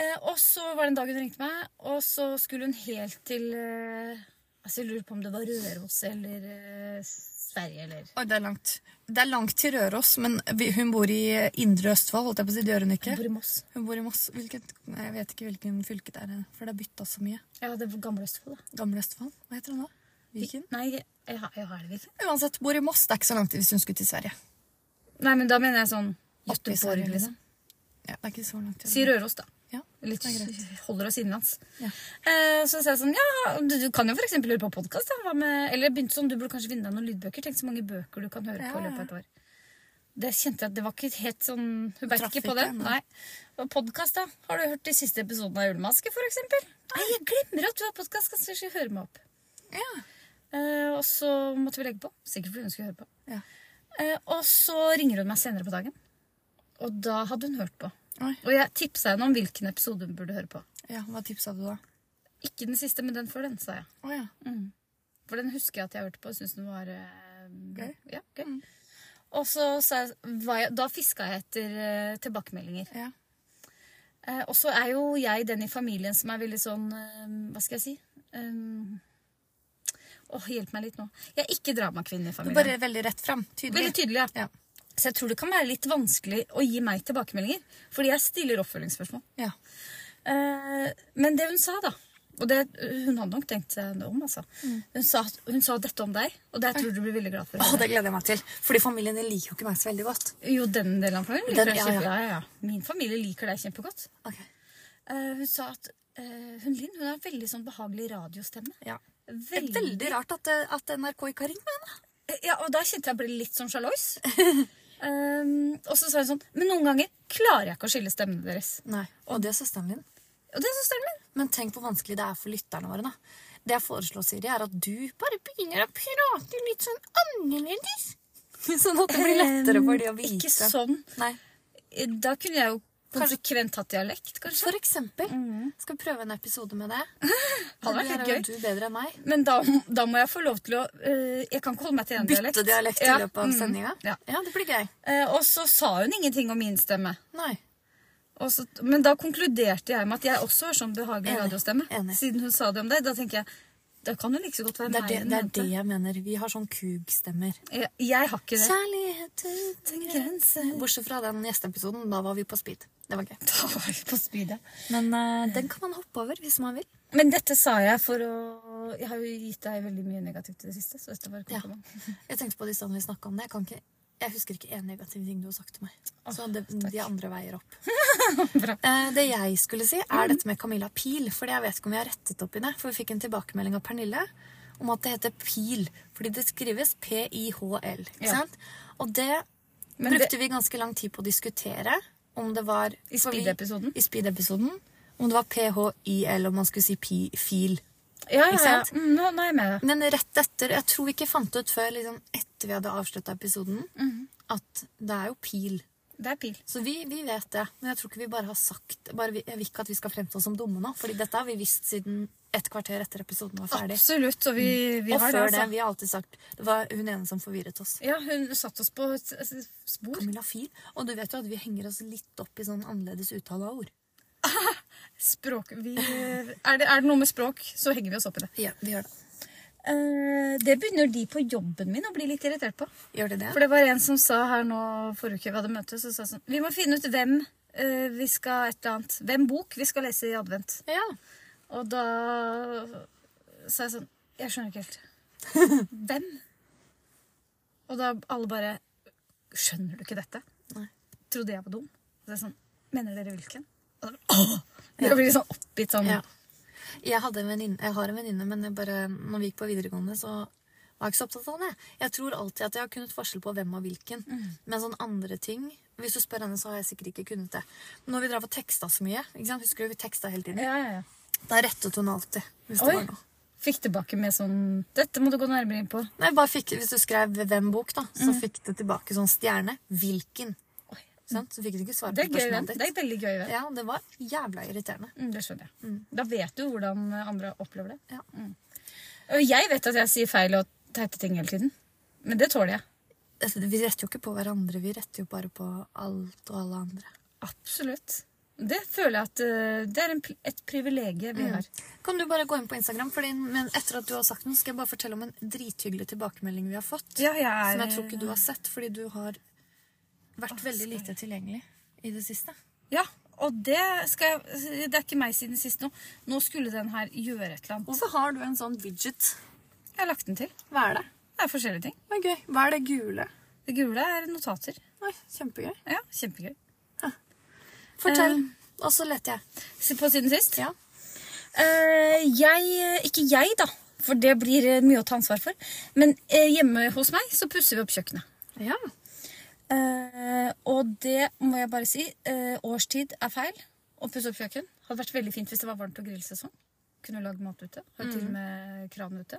S1: Eh, og så var det en dag hun ringte meg, og så skulle hun helt til eh, Altså, jeg lurer på om det var Røros eller eh, Sverige eller
S2: Oi, det er langt. Det er langt til Røros, men vi- hun bor i Indre Østfold, holdt jeg på å si. Det gjør hun
S1: Hun
S2: ikke.
S1: bor i Moss.
S2: Hun bor i Moss. Hvilket, nei, jeg vet ikke hvilken fylke det er, for det er bytta så mye.
S1: Ja, det var Gamle Østfold, da.
S2: Gamle Østfold, hva heter hun da? Viken?
S1: Nei, ja, ja, er det Viken?
S2: Uansett, bor i Moss. Det er ikke så langt til hvis hun skulle til Sverige.
S1: Nei, men da mener jeg sånn
S2: Oppe i
S1: Göteborg,
S2: Sverige,
S1: liksom.
S2: Ja, det er ikke så langt til
S1: Si Røros, da.
S2: Ja,
S1: Litt,
S2: det er greit.
S1: holder oss innenlands.
S2: Ja.
S1: Eh, så sa jeg sånn, ja, du, du kan jo for eksempel høre på podcast. da. Hva med- Eller jeg begynte sånn, du burde kanskje vinne deg noen lydbøker. Tenk så mange bøker du kan høre på i
S2: Ja,
S1: løpet av
S2: ja.
S1: et år. Det kjente jeg at det var ikke helt sånn Hun beit
S2: traff
S1: ikke på
S2: ikke
S1: det.
S2: ennå.
S1: Nei. Og podkast, da? Har du hørt de siste episodene av Julemaske, for eksempel? Nei, jeg glemmer at du har podkast. Kanskje jeg skal høre meg opp.
S2: Ja.
S1: Eh, og så måtte vi legge på. Sikkert fordi hun skulle høre på.
S2: ja.
S1: Eh, og så ringer hun meg senere på dagen. Og da hadde hun hørt på.
S2: Oi.
S1: Og jeg tipsa henne om hvilken episode hun burde høre på.
S2: Ja, hva tipsa du da?
S1: Ikke den siste, men den før den, sa jeg.
S2: Å ja.
S1: For den husker jeg at jeg hørte på og syntes den var eh,
S2: Gøy.
S1: Ja, gøy.
S2: Mm.
S1: Og så sa jeg, var jeg Da fiska jeg etter eh, tilbakemeldinger.
S2: ja.
S1: Eh, og så er jo jeg den i familien som er veldig sånn eh, Hva skal jeg si? Um, Åh, hjelp meg litt nå. Jeg er ikke dramakvinne i
S2: Du
S1: familien.
S2: bare veldig rett fram. Tydelig.
S1: Veldig tydelig, ja.
S2: Ja.
S1: Så jeg tror det kan være litt vanskelig å gi meg tilbakemeldinger. Fordi jeg stiller oppfølgingsspørsmål.
S2: ja.
S1: Eh, men det hun sa, da Og det, hun hadde nok tenkt seg det om, altså.
S2: Mm.
S1: Hun, sa, hun sa dette om deg, og det tror jeg du blir veldig glad for. å
S2: Å,
S1: høre.
S2: det gleder jeg meg til. Fordi familien din liker jo ikke meg så veldig godt.
S1: Jo, den delen av familien liker deg
S2: Den- ja,
S1: kjempe-
S2: ja.
S1: ja, ja, ja. Min familie liker deg kjempegodt. Eh, hun sa at eh, hun Linn hun har veldig sånn behagelig radiostemme.
S2: Ja. Det er
S1: Veldig, Eh,
S2: veldig rart at, eh, at NRK ikke har ringt meg ennå.
S1: Ja, Og da kjente jeg ble litt sånn sjalos. um, og så sa hun sånn Men noen ganger klarer jeg ikke å skille stemmene deres.
S2: Nei. Og det er søsteren din.
S1: Og det er søsteren min.
S2: Men tenk hvor vanskelig det er for lytterne våre, da. Det jeg foreslår, Siri, er at du bare begynner å prate litt sånn annerledes. Sånn at det blir lettere for de å vite.
S1: Ikke sånn.
S2: Nei.
S1: Eh, Da kunne jeg jo
S2: Kanskje-
S1: konsekvent hatt dialekt, kanskje.
S2: For eksempel. Skal vi prøve en episode med Mhm. det?
S1: Hadde vært
S2: Der
S1: litt
S2: er jo
S1: gøy.
S2: Du bedre enn meg.
S1: Men da, da må jeg få lov til å eh, Jeg kan ikke holde meg til én dialekt.
S2: Bytte dialekt i
S1: Ja,
S2: løpet
S1: mm,
S2: av sendinga.
S1: Ja.
S2: ja, det blir gøy.
S1: Eh, og så sa hun ingenting om min stemme.
S2: Nei.
S1: Og så, men da konkluderte jeg med at jeg også har sånn behagelig
S2: Enig,
S1: radiostemme.
S2: enig.
S1: Siden hun sa det om deg. Da tenker jeg da kan hun like så godt være
S2: Det er
S1: meg.
S2: det,
S1: hun
S2: det, er
S1: mente.
S2: det jeg mener. Vi har sånn kugstemmer.
S1: Jeg, jeg har ikke det.
S2: Kjærlighet uten grenser. Bortsett fra den gjesteepisoden. Da var vi på speed. Det var gøy. Mm.
S1: Da var vi på speedet.
S2: Men eh, den kan man hoppe over hvis man vil.
S1: Men dette sa jeg for å Jeg har jo gitt deg veldig mye negativt i det siste. Så dette var et
S2: Ja.
S1: kompliment.
S2: Jeg tenkte på det i stedet vi snakket om det. Jeg, kan ikke, jeg husker ikke en negativ ting du har sagt til meg. Så det, de andre veier opp.
S1: Bra. Mm.
S2: Eh, Det jeg skulle si, er dette med Camilla Pil. For jeg vet ikke om vi har rettet opp i det. For vi fikk en tilbakemelding av Pernille om at det heter Pil. Fordi det skrives P-I-H-L. ikke
S1: Ja.
S2: sant? Og det
S1: Men det-
S2: brukte vi ganske lang tid på å diskutere. Om det var
S1: I speed-episoden?
S2: I speed-episoden. Om det var PHIL, om man skulle si pi, fil.
S1: Ja, ja,
S2: Ikke
S1: ja.
S2: sant?
S1: Mm, nå, nå er jeg med.
S2: Men rett etter Jeg tror vi ikke fant det ut før liksom, etter vi hadde avslutta episoden. at det er jo pil.
S1: Det er pil.
S2: Så vi, vi vet det, men jeg tror ikke vi bare har sagt bare vi, Jeg vil ikke at vi skal fremstå som dumme nå, Fordi dette har vi visst siden et kvarter etter episoden var ferdig.
S1: Absolutt. Og vi, vi
S2: og
S1: har
S2: før det,
S1: det. altså.
S2: vi har alltid sagt Det var hun ene som forvirret oss.
S1: Ja, hun satte oss på et et spor.
S2: Camilla Fil. Og du vet jo at vi henger oss litt opp i sånn annerledes uttale av ord.
S1: Språk vi, er, det, er det noe med språk, så henger vi oss opp i det.
S2: Ja, vi gjør det.
S1: Eh, det begynner de på jobben min å bli litt irritert på.
S2: Gjør det det?
S1: For det var en som sa her nå forrige uke vi hadde møte, så sa sånn Vi må finne ut hvem eh, vi skal et eller annet Hvem bok vi skal lese i advent.
S2: Ja.
S1: Og da sa jeg sånn Jeg skjønner ikke helt. Hvem? Og da alle bare Skjønner du ikke dette?
S2: Nei.
S1: Trodde jeg var dum. Og så er jeg sånn Mener dere hvilken? Og da, bare, Åh! Jeg blir litt sånn oppgitt sånn.
S2: Ja. Jeg, hadde en venninne, jeg har en venninne, men jeg bare, når vi gikk på videregående, så var jeg ikke så opptatt av det. Jeg tror alltid at jeg har kunnet forskjell på hvem og hvilken.
S1: Mm.
S2: Men sånn andre ting Hvis du spør henne, så har jeg sikkert ikke kunnet det. Når vi drev og teksta så mye, ikke sant? husker du vi teksta hele tiden?
S1: Ja, ja, ja.
S2: Da rettet hun alltid. Hvis det
S1: Oi.
S2: var noe.
S1: Fikk tilbake med sånn Dette må du gå nærmere inn på.
S2: Nei, bare fikk, hvis du skrev hvem bok, da, så fikk du tilbake sånn stjerne. Hvilken.
S1: Mm. Oi.
S2: Sant? Så fikk du ikke svar
S1: Det
S2: på
S1: er gøy venn.
S2: spørsmålet
S1: Det er
S2: ditt.
S1: et veldig gøy venn.
S2: Ja, det var jævla irriterende.
S1: Mm, det skjønner jeg. Da vet du hvordan andre opplever det.
S2: Ja.
S1: Mm. Og jeg vet at jeg sier feil og teite ting hele tiden. Men det tåler jeg.
S2: Altså, Vi retter jo ikke på hverandre, vi retter jo bare på alt og alle andre.
S1: Absolutt. Det føler jeg at eh, det er en, pri- et privilegium vi har.
S2: Kan du bare gå inn på Instagram, fordi, men etter at du har sagt den, skal jeg bare fortelle om en drithyggelig tilbakemelding vi har fått,
S1: Ja, jeg er
S2: som jeg tror ikke du har sett, fordi du har vært veldig lite tilgjengelig i det siste.
S1: Ja, og det skal jeg Det er ikke meg siden sist nå. Nå skulle den her gjøre et eller annet.
S2: Hvorfor har du en sånn widget?
S1: Jeg har lagt den til.
S2: Hva er det?
S1: Det er forskjellige ting.
S2: Det er gøy. Hva er det gule?
S1: Det gule er notater.
S2: Oi, kjempegøy.
S1: Ja, kjempegøy.
S2: Fortell. Og så leter jeg.
S1: Se på siden sist.
S2: Ja.
S1: Eh, jeg Ikke jeg, da, for det blir eh, mye å ta ansvar for. Men eh, hjemme hos meg så pusser vi opp kjøkkenet.
S2: ja.
S1: Eh, og det må jeg bare si. eh, årstid er feil å pusse opp kjøkken. Hadde vært veldig fint hvis det var varmt og grillsesong. Kunne lagd mat ute. Har til og med kran ute.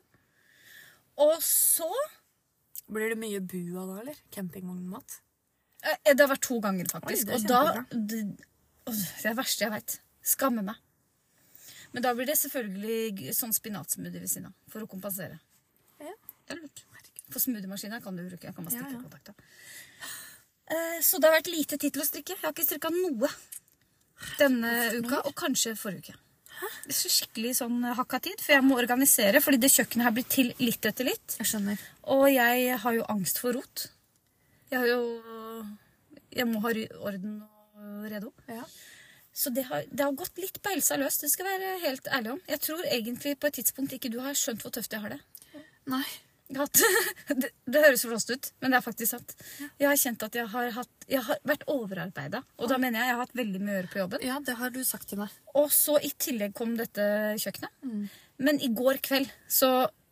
S1: Og så
S2: Blir det mye bua da, eller? Campingvognmat?
S1: eh, Det har vært to ganger, faktisk.
S2: Oi,
S1: og
S2: det er
S1: da det, åh, det er det verste jeg veit. Skammer meg. Men da blir det selvfølgelig g- sånn spinatsmoothie ved siden av. For å kompensere.
S2: Ja.
S1: Det er lurt. For smoothiemaskina kan du bruke. Jeg kan bare
S2: Ja,
S1: stikke
S2: ja.
S1: kontakt, da. Eh, Så det har vært lite tid til å strikke. Jeg har ikke strikka noe denne uka, og kanskje forrige uke. Det er så skikkelig sånn eh, hakka tid, for jeg må organisere. Fordi det kjøkkenet her blir til litt etter litt.
S2: Jeg skjønner.
S1: Og jeg har jo angst for rot. Jeg har jo Jeg må ha ry- orden og redo.
S2: Ja.
S1: Så det har, det har gått litt på helsa løs. Det skal jeg være helt ærlig om. Jeg tror egentlig på et tidspunkt ikke du har skjønt hvor tøft jeg har det.
S2: Nei.
S1: Jeg har hatt, det, det høres flåst ut, men det er faktisk sant. Jeg har kjent at jeg har, hatt, jeg har vært overarbeida. Og da mener jeg jeg har hatt veldig mye å gjøre på jobben.
S2: Ja, det har du sagt til meg.
S1: Og så i tillegg kom dette kjøkkenet.
S2: Mm.
S1: Men i går kveld så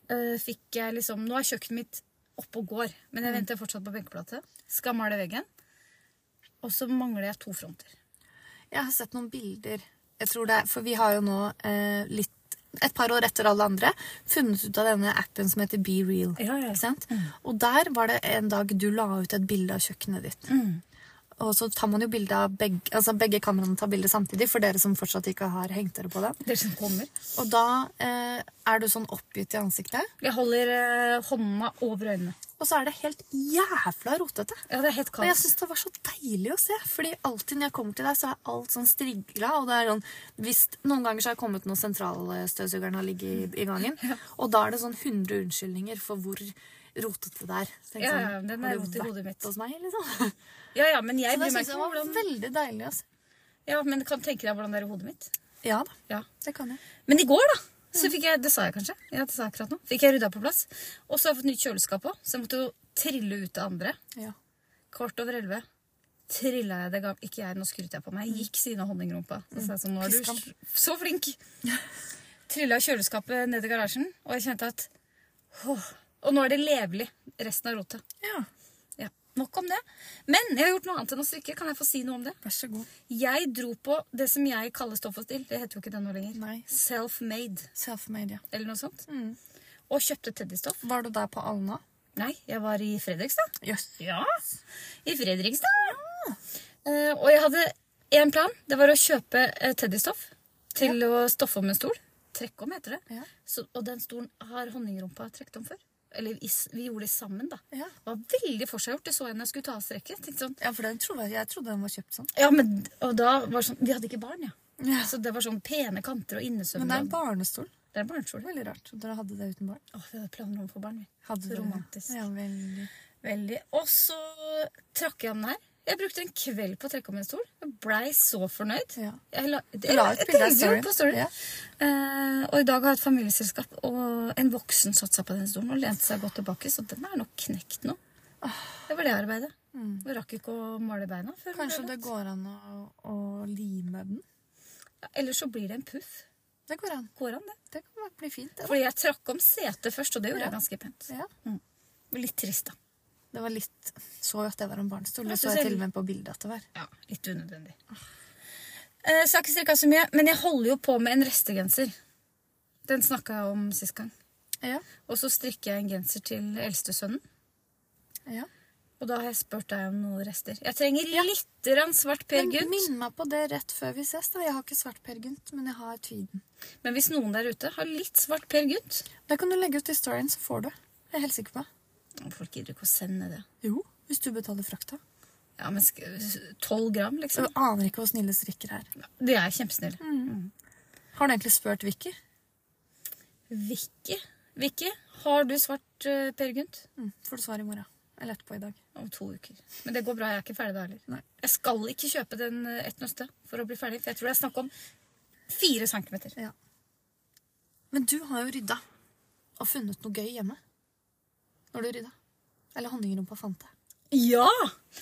S1: eh, fikk jeg liksom Nå er kjøkkenet mitt oppe og går, men
S2: Mm.
S1: jeg venter fortsatt på benkeplate. Skal male veggen. Og så mangler jeg to fronter.
S2: Jeg har sett noen bilder. Jeg tror det er, For vi har jo nå eh, litt et par år etter alle andre funnet ut av denne appen som heter Be Real.
S1: Ja, ja. Mm.
S2: Ikke sant? Og der var det en dag du la ut et bilde av kjøkkenet ditt.
S1: Mm.
S2: Og så tar man jo bilde av begge, altså begge kameraene tar bilde samtidig, for dere som fortsatt ikke har hengt dere på den.
S1: Det som kommer.
S2: Og da eh, er du sånn oppgitt i ansiktet,
S1: Jeg holder eh, hånda over øynene.
S2: og så er det helt jævla rotete.
S1: Ja, det er helt
S2: Og jeg
S1: kaos.
S2: syns det var så deilig å se. Fordi alltid når jeg kommer til deg, så er alt sånn strigla. Og det er sånn, hvis, noen ganger så har jeg kommet når sentralstøvsugeren har ligget i, i gangen. Og da er det sånn 100 unnskyldninger for hvor rotete det er. Så tenker jeg
S1: Ja,
S2: sånn,
S1: ja, den er
S2: har du
S1: rot i
S2: vært
S1: hodet mitt.
S2: Hos meg, liksom.
S1: Ja, ja, men jeg
S2: Så det
S1: bryr meg
S2: syns
S1: ikke
S2: jeg
S1: om
S2: var
S1: hvordan
S2: veldig deilig å se.
S1: Ja, men kan tenke deg hvordan det er i hodet mitt.
S2: Ja da.
S1: Ja.
S2: Det kan jeg.
S1: Men i går, da, så
S2: Mm.
S1: fikk jeg Det sa jeg kanskje? Ja, det sa jeg akkurat nå. Fikk jeg rydda på plass. Og så har jeg fått nytt kjøleskap òg, så jeg måtte jo trille ut det andre.
S2: Ja.
S1: Kvart over elleve trilla jeg det gam... Ikke jeg, nå skryter jeg på meg. Jeg gikk siden av honningrumpa. Så sa jeg sånn, nå er
S2: Piskam.
S1: du så flink. Trilla kjøleskapet ned i garasjen, og jeg kjente at åh, Og nå er det levelig, resten av rotet.
S2: ja.
S1: Ja, Nok om det. Men jeg har gjort noe annet enn å strikke. Kan jeg få si noe om det?
S2: Vær så god.
S1: Jeg dro på det som jeg kaller stoffhostil. Det heter jo ikke det nå lenger.
S2: Nei.
S1: Self-made,
S2: Self-made, ja.
S1: eller noe sånt. Og kjøpte teddystoff.
S2: Var du der på Alna?
S1: Nei, jeg var i Fredrikstad.
S2: Jøss.
S1: Ja. I Fredrikstad. Eh, og jeg hadde én plan. Det var å kjøpe eh, teddystoff til å stoffe om en stol. Trekke om, heter det.
S2: Ja.
S1: Så, og den stolen har honningrumpa trukket om før. Eller i, s- vi gjorde det sammen, da.
S2: Ja.
S1: Det var veldig forseggjort. Det så jeg når jeg skulle ta av streken. Jeg Tenkte sånn,
S2: Ja, for den trodde jeg, jeg trodde den var kjøpt sånn.
S1: ja, men, og da var det sånn, Vi hadde ikke barn, ja.
S2: Ja.
S1: Så det var sånn pene kanter og innesøvn.
S2: Men det er en barnestol.
S1: det er en barnestol.
S2: Veldig rart. Og dere hadde det uten barn.
S1: Åh, vi hadde planer om å få barn, vi.
S2: Hadde
S1: Så
S2: dere det?
S1: romantisk.
S2: Ja, veldig.
S1: Veldig. Og så trakk jeg om den her. Jeg brukte en kveld på å trekke om en stol. Jeg blei så fornøyd.
S2: Ja.
S1: Jeg la, jeg,
S2: la ut
S1: jeg
S2: bilde av
S1: tenkte jo
S2: storyen.
S1: på storyen.
S2: Ja.
S1: Eh, og i dag har jeg et familieselskap, og en voksen satt seg på den stolen og lente seg godt tilbake, så den er nok knekt nå. Det var det arbeidet. Vi rakk ikke å male beina. Før vi
S2: Ah. Mm. Kanskje
S1: ble
S2: det
S1: rett.
S2: går an å, å lime den?
S1: Ja, Ellers så blir det en puff.
S2: Det går an.
S1: Går an, det.
S2: Det kan bli fint. Det, da.
S1: Fordi jeg trakk om setet først, og det gjorde
S2: Ja.
S1: jeg ganske pent.
S2: Ja.
S1: Litt trist, da.
S2: det var litt Så jo at det var en barnestol.
S1: Ja,
S2: Det så
S1: så
S2: jeg
S1: selv-
S2: til og med på bildet at det var.
S1: Ja, litt unødvendig.
S2: Ah.
S1: Eh, så jeg har ikke strikka så mye, men jeg holder jo på med en restegenser. Den snakka jeg om sist gang.
S2: Ja.
S1: Og så strikker jeg en genser til eldstesønnen.
S2: ja.
S1: Og da har jeg spurt deg om noen rester. Jeg trenger litt grann svart Per
S2: Men
S1: Gynt.
S2: minn meg på det rett før vi ses. da. Jeg har ikke svart Per Gynt, men jeg har tweeden.
S1: Men hvis noen der ute har litt svart Per Gynt
S2: Da kan du legge ut i storyen, så får du. Jeg er helt sikker på det.
S1: Å, Folk gidder ikke å sende det.
S2: Jo. Hvis du betaler frakta.
S1: Ja, men Tolv gram,
S2: Du
S1: liksom?
S2: aner ikke hvor snille strikker er.
S1: De er kjempesnille.
S2: Mm. Har du egentlig spurt Vicky?
S1: Vicky, Vicky, har du svart eh, Per Gynt?
S2: Mm. Får du svar i morgen. Eller etterpå i dag.
S1: Om to uker. Men det går bra, jeg er ikke ferdig da heller.
S2: Nei.
S1: Jeg skal ikke kjøpe den eh, ett nøste for å bli ferdig, for jeg tror det er snakk om fire centimeter.
S2: Ja. Men du har jo rydda og funnet noe gøy hjemme. Når du rydda. Eller honningrumpa fant det.
S1: Ja!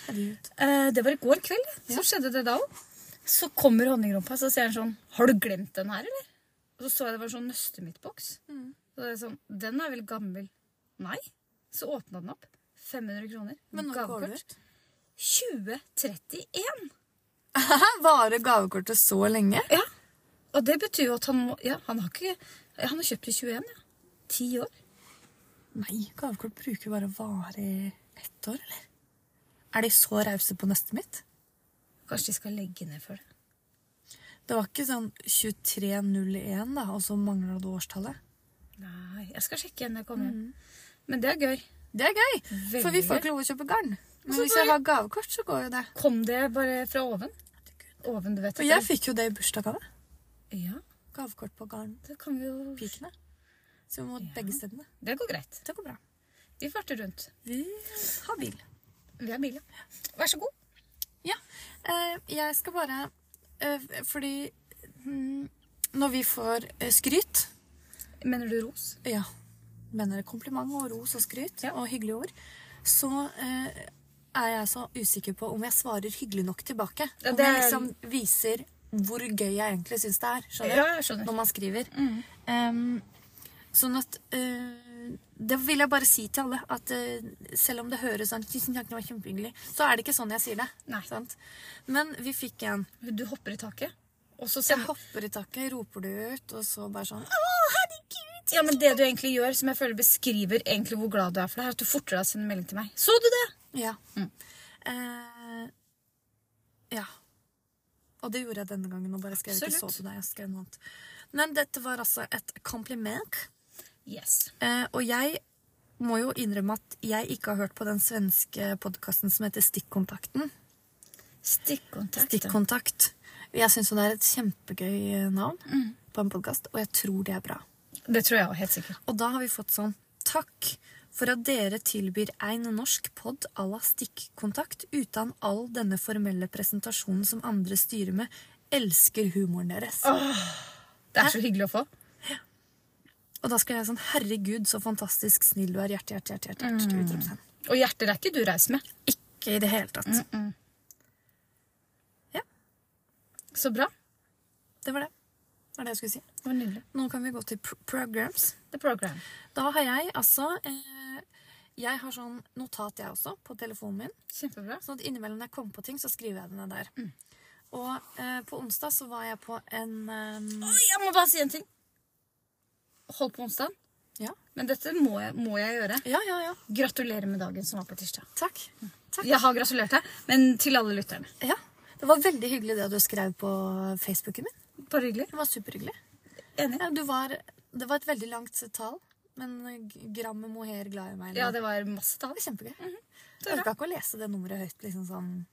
S2: Herregud.
S1: Eh, det var i går kveld, så skjedde det da òg. Så kommer honningrumpa, så sier han sånn Har du glemt den her, eller? Og så så jeg det var en sånn nøste midtboks.
S2: Mm.
S1: Så det er sånn Den er vel gammel? Nei. Så åpna den opp. 500 kroner.
S2: Men nå går det
S1: Gavekort. 2031!
S2: Varer gavekortet så lenge?
S1: Ja. Og det betyr jo at han må Ja, han har ikke Han har kjøpt i 21, ja. Ti år.
S2: Nei, gavekort bruker bare vare i ett år, eller? Er de så rause på nøstet mitt?
S1: Kanskje de skal legge ned for det.
S2: Det var ikke sånn 2301, da, og så mangla du årstallet.
S1: Nei, jeg skal sjekke igjen når jeg kommer hjem. Men det er gøy.
S2: Det er gøy, Mm. for vi
S1: Veldig
S2: får
S1: gøy.
S2: ikke lov å kjøpe garn. Men
S1: så
S2: hvis
S1: bare-
S2: jeg har gavekort, så går jo det.
S1: Kom det bare fra oven? Oven, du vet.
S2: Og jeg fikk jo det i bursdagsgave.
S1: Ja,
S2: Gavekort på garnpikene.
S1: det kan vi jo...
S2: Så vi må begge stedene.
S1: Det går greit.
S2: Det går bra.
S1: Vi farter rundt.
S2: Vi har bil.
S1: Vi er biler. Vær så god.
S2: Ja. Eh, jeg skal bare eh, Fordi mm, når vi får eh, skryt
S1: Mener du ros?
S2: Ja, mener kompliment og ros og skryt og hyggelige ord, så eh, er jeg så usikker på om jeg svarer hyggelig nok tilbake.
S1: Ja,
S2: om
S1: det
S2: jeg
S1: er-
S2: liksom viser hvor gøy jeg egentlig syns det er. Skjønner?
S1: Ja, jeg skjønner. Mm.
S2: Når man skriver. Em, sånn at eh, Det vil jeg bare si til alle. At eh, selv om det høres sånn Tusen takk, det var kjempehyggelig. Så er det ikke sånn jeg sier det.
S1: Nei.
S2: Sant? Men vi fikk en.
S1: Du hopper i taket, og så
S2: Jeg
S1: sender...
S2: hopper i taket, roper det ut, og så bare sånn
S1: Ja, men det du egentlig gjør, som jeg føler beskriver egentlig hvor glad du er for det, er at du fortere deg å sende melding til meg. Så du det?
S2: Ja. Eh, ja. Og det gjorde jeg denne gangen. Og bare skrev ikke så
S1: Absolutt.
S2: til deg, jeg skrev noe annet. Men dette var altså et kompliment.
S1: Yes.
S2: Eh, og jeg må jo innrømme at jeg ikke har hørt på den svenske podkasten som heter Stikkontakten.
S1: Stikkontakt.
S2: Stikkontakt. Jeg syns jo det er et kjempegøy eh, navn på en podkast, og jeg tror det er bra.
S1: Det tror jeg også, helt sikkert.
S2: Og da har vi fått sånn Takk for at dere tilbyr en norsk pod à la stikkontakt uten all denne formelle presentasjonen som andre styrer med. Elsker humoren deres.
S1: Det er så hyggelig å få.
S2: Og da skal jeg sånn Herregud, så fantastisk snill du er. Hjerte, hjerte, hjerte. hjerte, hjerte utropstegn.
S1: Og hjertet er ikke du reiser med.
S2: Ikke Mm. i det hele tatt. Ja,
S1: Så bra.
S2: det var det. Det var det jeg skulle si.
S1: Det var nydelig.
S2: Nå kan vi gå til pr programs.
S1: The program.
S2: Da har jeg altså eh, Jeg har sånn notat, jeg også, på telefonen min.
S1: Kjempebra.
S2: Sånn at innimellom når jeg kommer på ting, så skriver jeg det ned der.
S1: Mm.
S2: Og eh, på onsdag så var jeg på en eh,
S1: Oi, jeg må bare si en ting. Hold på onsdagen.
S2: Ja.
S1: Men dette må jeg, må jeg gjøre.
S2: Ja, ja, ja.
S1: Gratulerer med dagen som var på tirsdag.
S2: Takk. Takk.
S1: Jeg har gratulert deg, men til alle lytterne.
S2: Ja. Det var veldig hyggelig det du skrev på Facebooken min.
S1: Bare hyggelig.
S2: Det var superhyggelig.
S1: Enig.
S2: Ja, du var, det var et veldig langt tal, men g- grammet mohair glad i meg.
S1: Ja, det Mhm. var masse tall.
S2: det var kjempegøy.
S1: er
S2: Jeg orka ikke å lese det nummeret høyt. liksom sånn...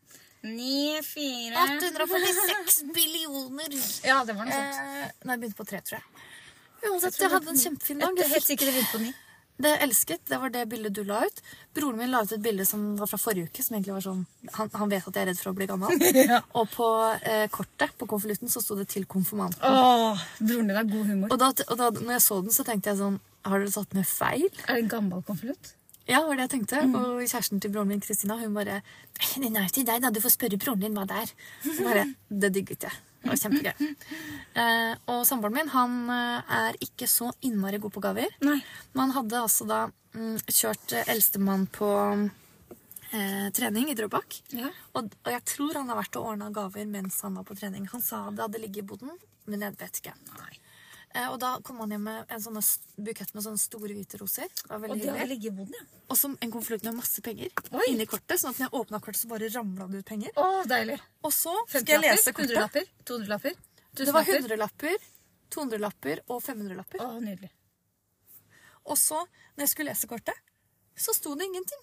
S1: 9, 4
S2: 846 billioner!
S1: Ja, det var noe sånt.
S2: Eh, nei, jeg begynte på tre, tror jeg. Uansett,
S1: tror
S2: jeg,
S1: det
S2: hadde en kjempefin dag.
S1: Jeg er
S2: Jeg
S1: helt
S2: fikk
S1: sikker det begynte på 9.
S2: det jeg elsket. Det var det bildet du la ut. Broren min la ut et bilde som var fra forrige uke, som egentlig var sånn Han, han vet at jeg er redd for å bli gammel.
S1: Ja.
S2: Og på eh, kortet på konvolutten så sto det 'til konfirmanten'.
S1: Åh, broren din har god humor.
S2: Og da, og da når jeg så den, så tenkte jeg sånn Har dere tatt med feil?
S1: Er det en gammel konvolutt?
S2: Ja, var det jeg tenkte.
S1: Mm.
S2: Og kjæresten til broren min, Kristina, hun bare «Nei, Den er jo til deg, da. Du får spørre broren din hva det er. Og Bare, det digget jeg. Det var kjempegøy. Eh, og samboeren min han eh, er ikke så innmari god på gaver.
S1: Nei.
S2: Men han hadde altså da mm, kjørt eh, eldstemann på eh, trening i Drøbak.
S1: Ja.
S2: Og, og jeg tror han har vært og ordna gaver mens han var på trening. Han sa det hadde ligget i boden, men jeg vet ikke.
S1: Nei.
S2: Eh, og da kom han hjem med en sånn s- bukett med sånne store hvite roser. Det var
S1: Og
S2: veldig
S1: det har
S2: hyggelig.
S1: ligget i boden, ja.
S2: Og som en konvolutt med masse penger
S1: Oi.
S2: inni kortet. Sånn at når jeg åpna kortet, så bare ramla det ut penger.
S1: Åh, deilig.
S2: Og så skal
S1: 50
S2: jeg lese
S1: lapper, 100
S2: kortet.
S1: lapper, 200 lapper, 1000
S2: Det var
S1: lapper.
S2: 100-lapper, 200-lapper og 500-lapper.
S1: Åh, nydelig.
S2: Og så, når jeg skulle lese kortet, så sto det ingenting.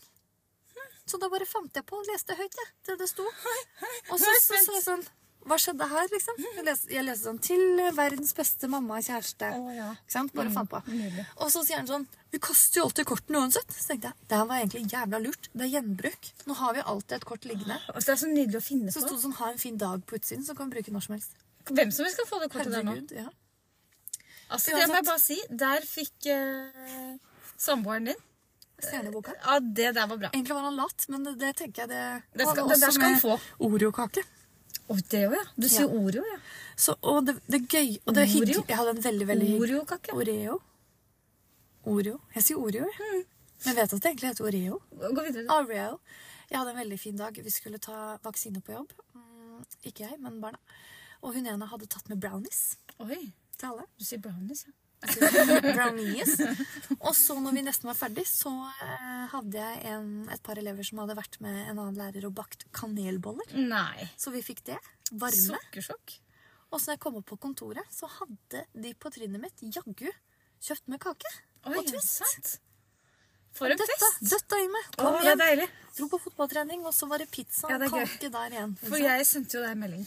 S2: Hm, Så da bare fant jeg på og leste høyt, jeg. Det det sto. Og så
S1: nå er jeg
S2: så så jeg sånn Hva skjedde her, liksom? Jeg leste, jeg leste sånn Til verdens beste mamma og kjæreste.
S1: Å, ja. Mm,
S2: Ikke sant? Bare fant på.
S1: nydelig.
S2: Og så sier han sånn Vi kaster jo alltid kortene uansett. Så tenkte jeg det her var egentlig jævla lurt. Det er gjenbruk. Nå har vi alltid et kort liggende.
S1: Altså, det er så nydelig å finne
S2: Så sto
S1: på.
S2: det sånn Ha en fin dag på utsiden, så kan vi bruke når som helst.
S1: Hvem som helst kan få det kortet der nå.
S2: Herregud. Ja.
S1: Altså,
S2: Ja,
S1: det må
S2: sant.
S1: jeg bare si. Der fikk eh, samboeren din.
S2: Stjerneboka.
S1: Ja, det der var bra.
S2: Egentlig var han lat, men det, det tenker jeg det,
S1: Det skal-
S2: Og
S1: det der
S2: også
S1: skal han
S2: med
S1: få.
S2: Oreo-kake.
S1: Åh, det òg, ja. Du sier Oreo, ja.
S2: Så, og det, det er gøy, og det er hyggelig.
S1: Oreo?
S2: Jeg hadde en veldig, veldig hyggelig
S1: Oreo-kake.
S2: Oreo. Oreo. Jeg sier Oreo, jeg.
S1: Mm.
S2: Men jeg vet at det egentlig heter Oreo.
S1: Gå videre. du.
S2: Oreo. Jeg hadde en veldig fin dag. Vi skulle ta vaksine på jobb. Mm, Ikke jeg, men barna. Og hun ene hadde tatt med brownies
S1: Oi,
S2: til alle. Altså,
S1: du sier brownies, ja.
S2: brownies. Og så når vi nesten var ferdig, så eh, hadde jeg en, et par elever som hadde vært med en annen lærer og bakt kanelboller.
S1: Nei.
S2: Så vi fikk det. Varme.
S1: Sukkersjokk.
S2: Og så når jeg kom opp på kontoret, så hadde de på trinnet mitt jaggu kjøpt med kake.
S1: Oi,
S2: og twist.
S1: sant. For en
S2: Døtta,
S1: fest.
S2: døtta i meg.
S1: Å,
S2: Kom
S1: det er
S2: hjem.
S1: deilig.
S2: Dro på fotballtrening, og så var det pizza
S1: Ja,
S2: og
S1: det er gøy.
S2: kake der igjen.
S1: For jeg sendte jo deg en melding,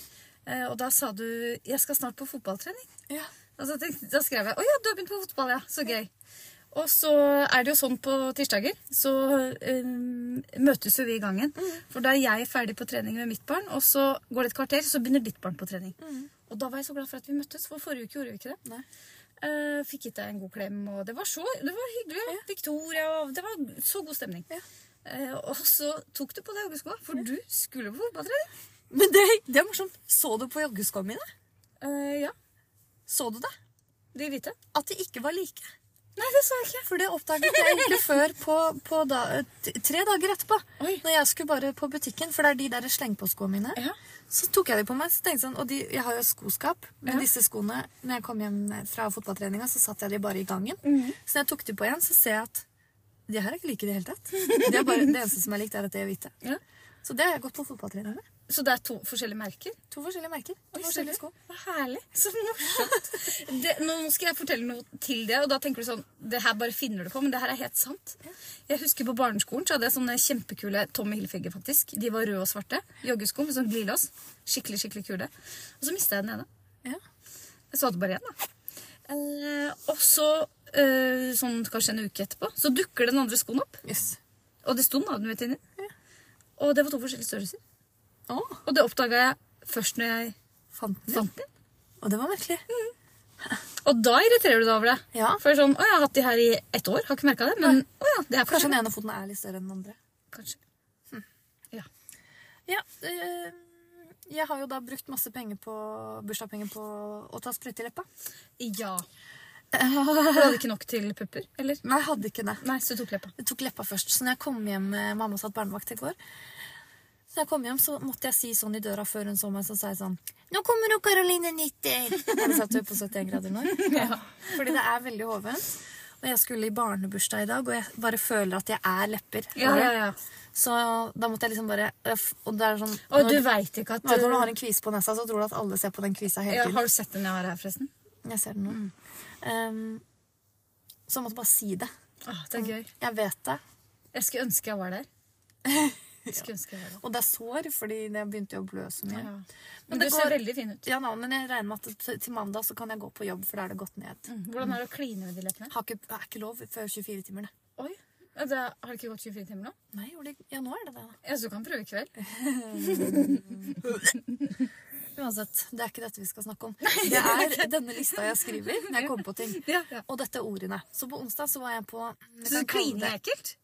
S1: eh, og da sa du 'jeg skal snart på fotballtrening'.
S2: Ja.
S1: Og så tenkte, Altså, da skrev jeg 'Å ja, du har begynt på fotball, ja. Så gøy'. Og så er det jo sånn på tirsdager, så eh, møtes jo vi i gangen. For da er jeg ferdig på trening med mitt barn, og så går det et kvarter, så begynner ditt barn på trening. Og da var jeg så glad for at vi møttes, for forrige uke gjorde vi ikke det.
S2: Nei.
S1: Eh, fikk gitt deg en god klem, og det var så det var hyggelig. Ja. Victoria, og det var så god stemning.
S2: Ja.
S1: Eh, og så tok du på deg joggeskoa, for du skulle på fotballtrening.
S2: Men det, det er morsomt. Så du på joggeskoene mine?
S1: Eh, ja,
S2: Så du det?
S1: de hvite.
S2: At de ikke var like.
S1: Nei, det sa jeg ikke.
S2: For det oppdaget jeg egentlig før på, på da, t- tre dager etterpå.
S1: Oi.
S2: Når jeg skulle bare på butikken, for det er de der slengpåskoene mine.
S1: Ja.
S2: Så tok jeg de på meg. Så tenkte jeg sånn, og de, Jeg har jo skoskap. Men
S1: Ja.
S2: disse skoene, når jeg kom hjem fra fotballtreninga, så satt jeg de bare i gangen. Så når jeg tok de på igjen, så ser jeg at de her er ikke like i det hele tatt. Det, er bare, det eneste som er likt, er at de er hvite.
S1: Ja.
S2: Så det har jeg gått på fotballtrening med.
S1: Så det er to forskjellige merker?
S2: To forskjellige merker. To
S1: Oi,
S2: forskjellige
S1: så
S2: sko.
S1: gøy. Hva Herlig. Så morsomt. Det, nå skal jeg fortelle noe til det, og da tenker du sånn Det her bare finner du på, men det her er helt sant. Jeg husker på barneskolen så hadde jeg sånne kjempekule Tommy Hilfiger, faktisk. De var røde og svarte. Joggesko med sånn glidelås. Skikkelig, skikkelig kule. Og så mista jeg den ene.
S2: Ja.
S1: Så hadde jeg bare én, da. Eh, og så, eh, sånn kanskje en uke etterpå, så dukker den andre skoen opp.
S2: Yes.
S1: Og det sto navnet mitt inni. Og det var to forskjellige størrelser.
S2: Å,
S1: Og det oppdaga jeg først når jeg
S2: fant den.
S1: fant den.
S2: Og det var merkelig.
S1: Og da irriterer du deg over det.
S2: Ja.
S1: For det er sånn, å, jeg har hatt de her i ett år, har ikke merka det. Men å ja, det er
S2: Kanskje
S1: forskjell.
S2: den ene foten er litt større enn den andre.
S1: Kanskje. Hm. Ja.
S2: Ja, eh, jeg har jo da brukt masse penger på bursdagspenger på å ta sprøyte i leppa.
S1: ja. Du hadde ikke nok til pupper? Eller?
S2: Nei, jeg hadde ikke det.
S1: Nei, så du tok leppa.
S2: Jeg tok leppa først. Så når jeg kom hjem eh, Mamma satt barnevakt i går. Så når jeg kom hjem, så måtte jeg si sånn i døra før hun så meg, så sa jeg sånn Nå kommer jo Caroline 90! Jeg satt jo på 71 grader nord. Fordi det er veldig hovent. Når jeg skulle i barnebursdag i dag, og jeg bare føler at jeg er lepper.
S1: Ja, ja, ja.
S2: Så da måtte jeg liksom bare Og det er sånn
S1: Og du
S2: når,
S1: veit ikke at
S2: vet, når du har en kvise på nesa, så tror du at alle ser på den kvisa hele
S1: ja,
S2: tiden.
S1: Har du sett den jeg har her, forresten?
S2: Jeg ser den nå. Ehm, så jeg måtte bare si det.
S1: Åh, Ah, det er gøy.
S2: Jeg vet det.
S1: Jeg skulle ønske jeg var der. Jeg skulle ønske jeg var der.
S2: Og det er sår, fordi jeg begynte jo å blø så mye.
S1: Ja.
S2: Men
S1: Men
S2: det
S1: du ser
S2: går-
S1: veldig fin ut.
S2: Ja, nei, men jeg regner med at til- til mandag så kan jeg gå på jobb, for da er det gått ned.
S1: Mm. Hvordan er det å kline med de leppene?
S2: Har ikke, er ikke lov før 24 timer, det.
S1: Oi, ja, det er- Har det ikke gått 24 timer nå?
S2: Nei, gjorde det ikke- ja, nå er det det. da.
S1: Ja, så du kan prøve i kveld.
S2: Uansett, det er ikke dette vi skal snakke om. Det er denne lista jeg skriver når jeg kommer på ting.
S1: Ja, ja.
S2: Og dette er ordene. Så på onsdag så var jeg på jeg
S1: Syns
S2: kan
S1: du klining
S2: kalle
S1: er
S2: det-
S1: ekkelt?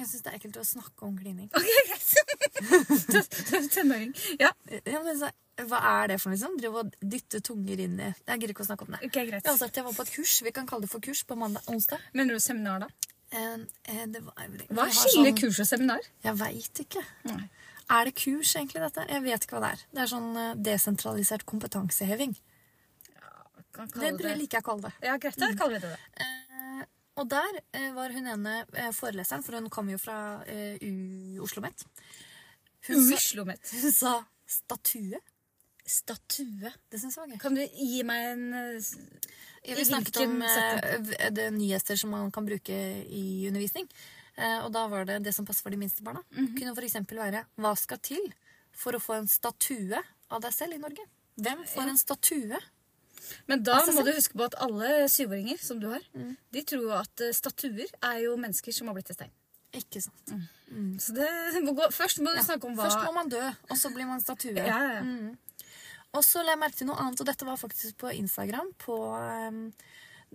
S2: Jeg syns det er ekkelt å snakke om klining.
S1: Ok, greit. Tenåring. Ja,
S2: Ja, men så, hva er det for noe? Liksom? Drive og dytte tunger inn i Jeg gidder ikke å snakke om det.
S1: ok, greit.
S2: Uansett, jeg var på et kurs. Vi kan kalle det for kurs på mandag, onsdag.
S1: Mener du seminar, da?
S2: Eh, eh, det var, det
S1: Hva
S2: var
S1: skiller
S2: sånn-
S1: kurs og seminar?
S2: Jeg veit ikke.
S1: Nei.
S2: Er det kurs, egentlig, dette? Jeg vet ikke hva det er. Det er sånn eh, desentralisert kompetanseheving.
S1: Kan
S2: Det
S1: kalle
S2: bør- liker jeg å kalle det.
S1: Ja, greit, da kaller vi det det.
S2: Eh, og der eh, var hun ene eh, foreleseren, for hun kom jo fra eh, U Oslo Met. Hun,
S1: Mm.
S2: sa-
S1: Uslomet.
S2: hun sa statue.
S1: Statue.
S2: Det syns jeg var gøy.
S1: Kan du gi meg en eh, s- I
S2: Ja, Vi snakket
S1: hvilken
S2: om eh, v- det er nyheter som man kan bruke i undervisning. Eh, og da var det det som passer for de minste barna.
S1: Mhm.
S2: Kunne for eksempel være Hva skal til for å få en statue av deg selv i Norge? Hvem får en statue?
S1: Men da
S2: Altså,
S1: må
S2: så-
S1: du huske på at alle syvåringer som du har, de tror jo at eh, statuer er jo mennesker som har blitt til stein.
S2: Ikke sant.
S1: Så det må gå Først må du snakke om hva
S2: Først må man dø, og så blir man statue.
S1: ja, ja, Mm. ja.
S2: Og så la jeg merke til noe annet, og dette var faktisk på Instagram. På ehm,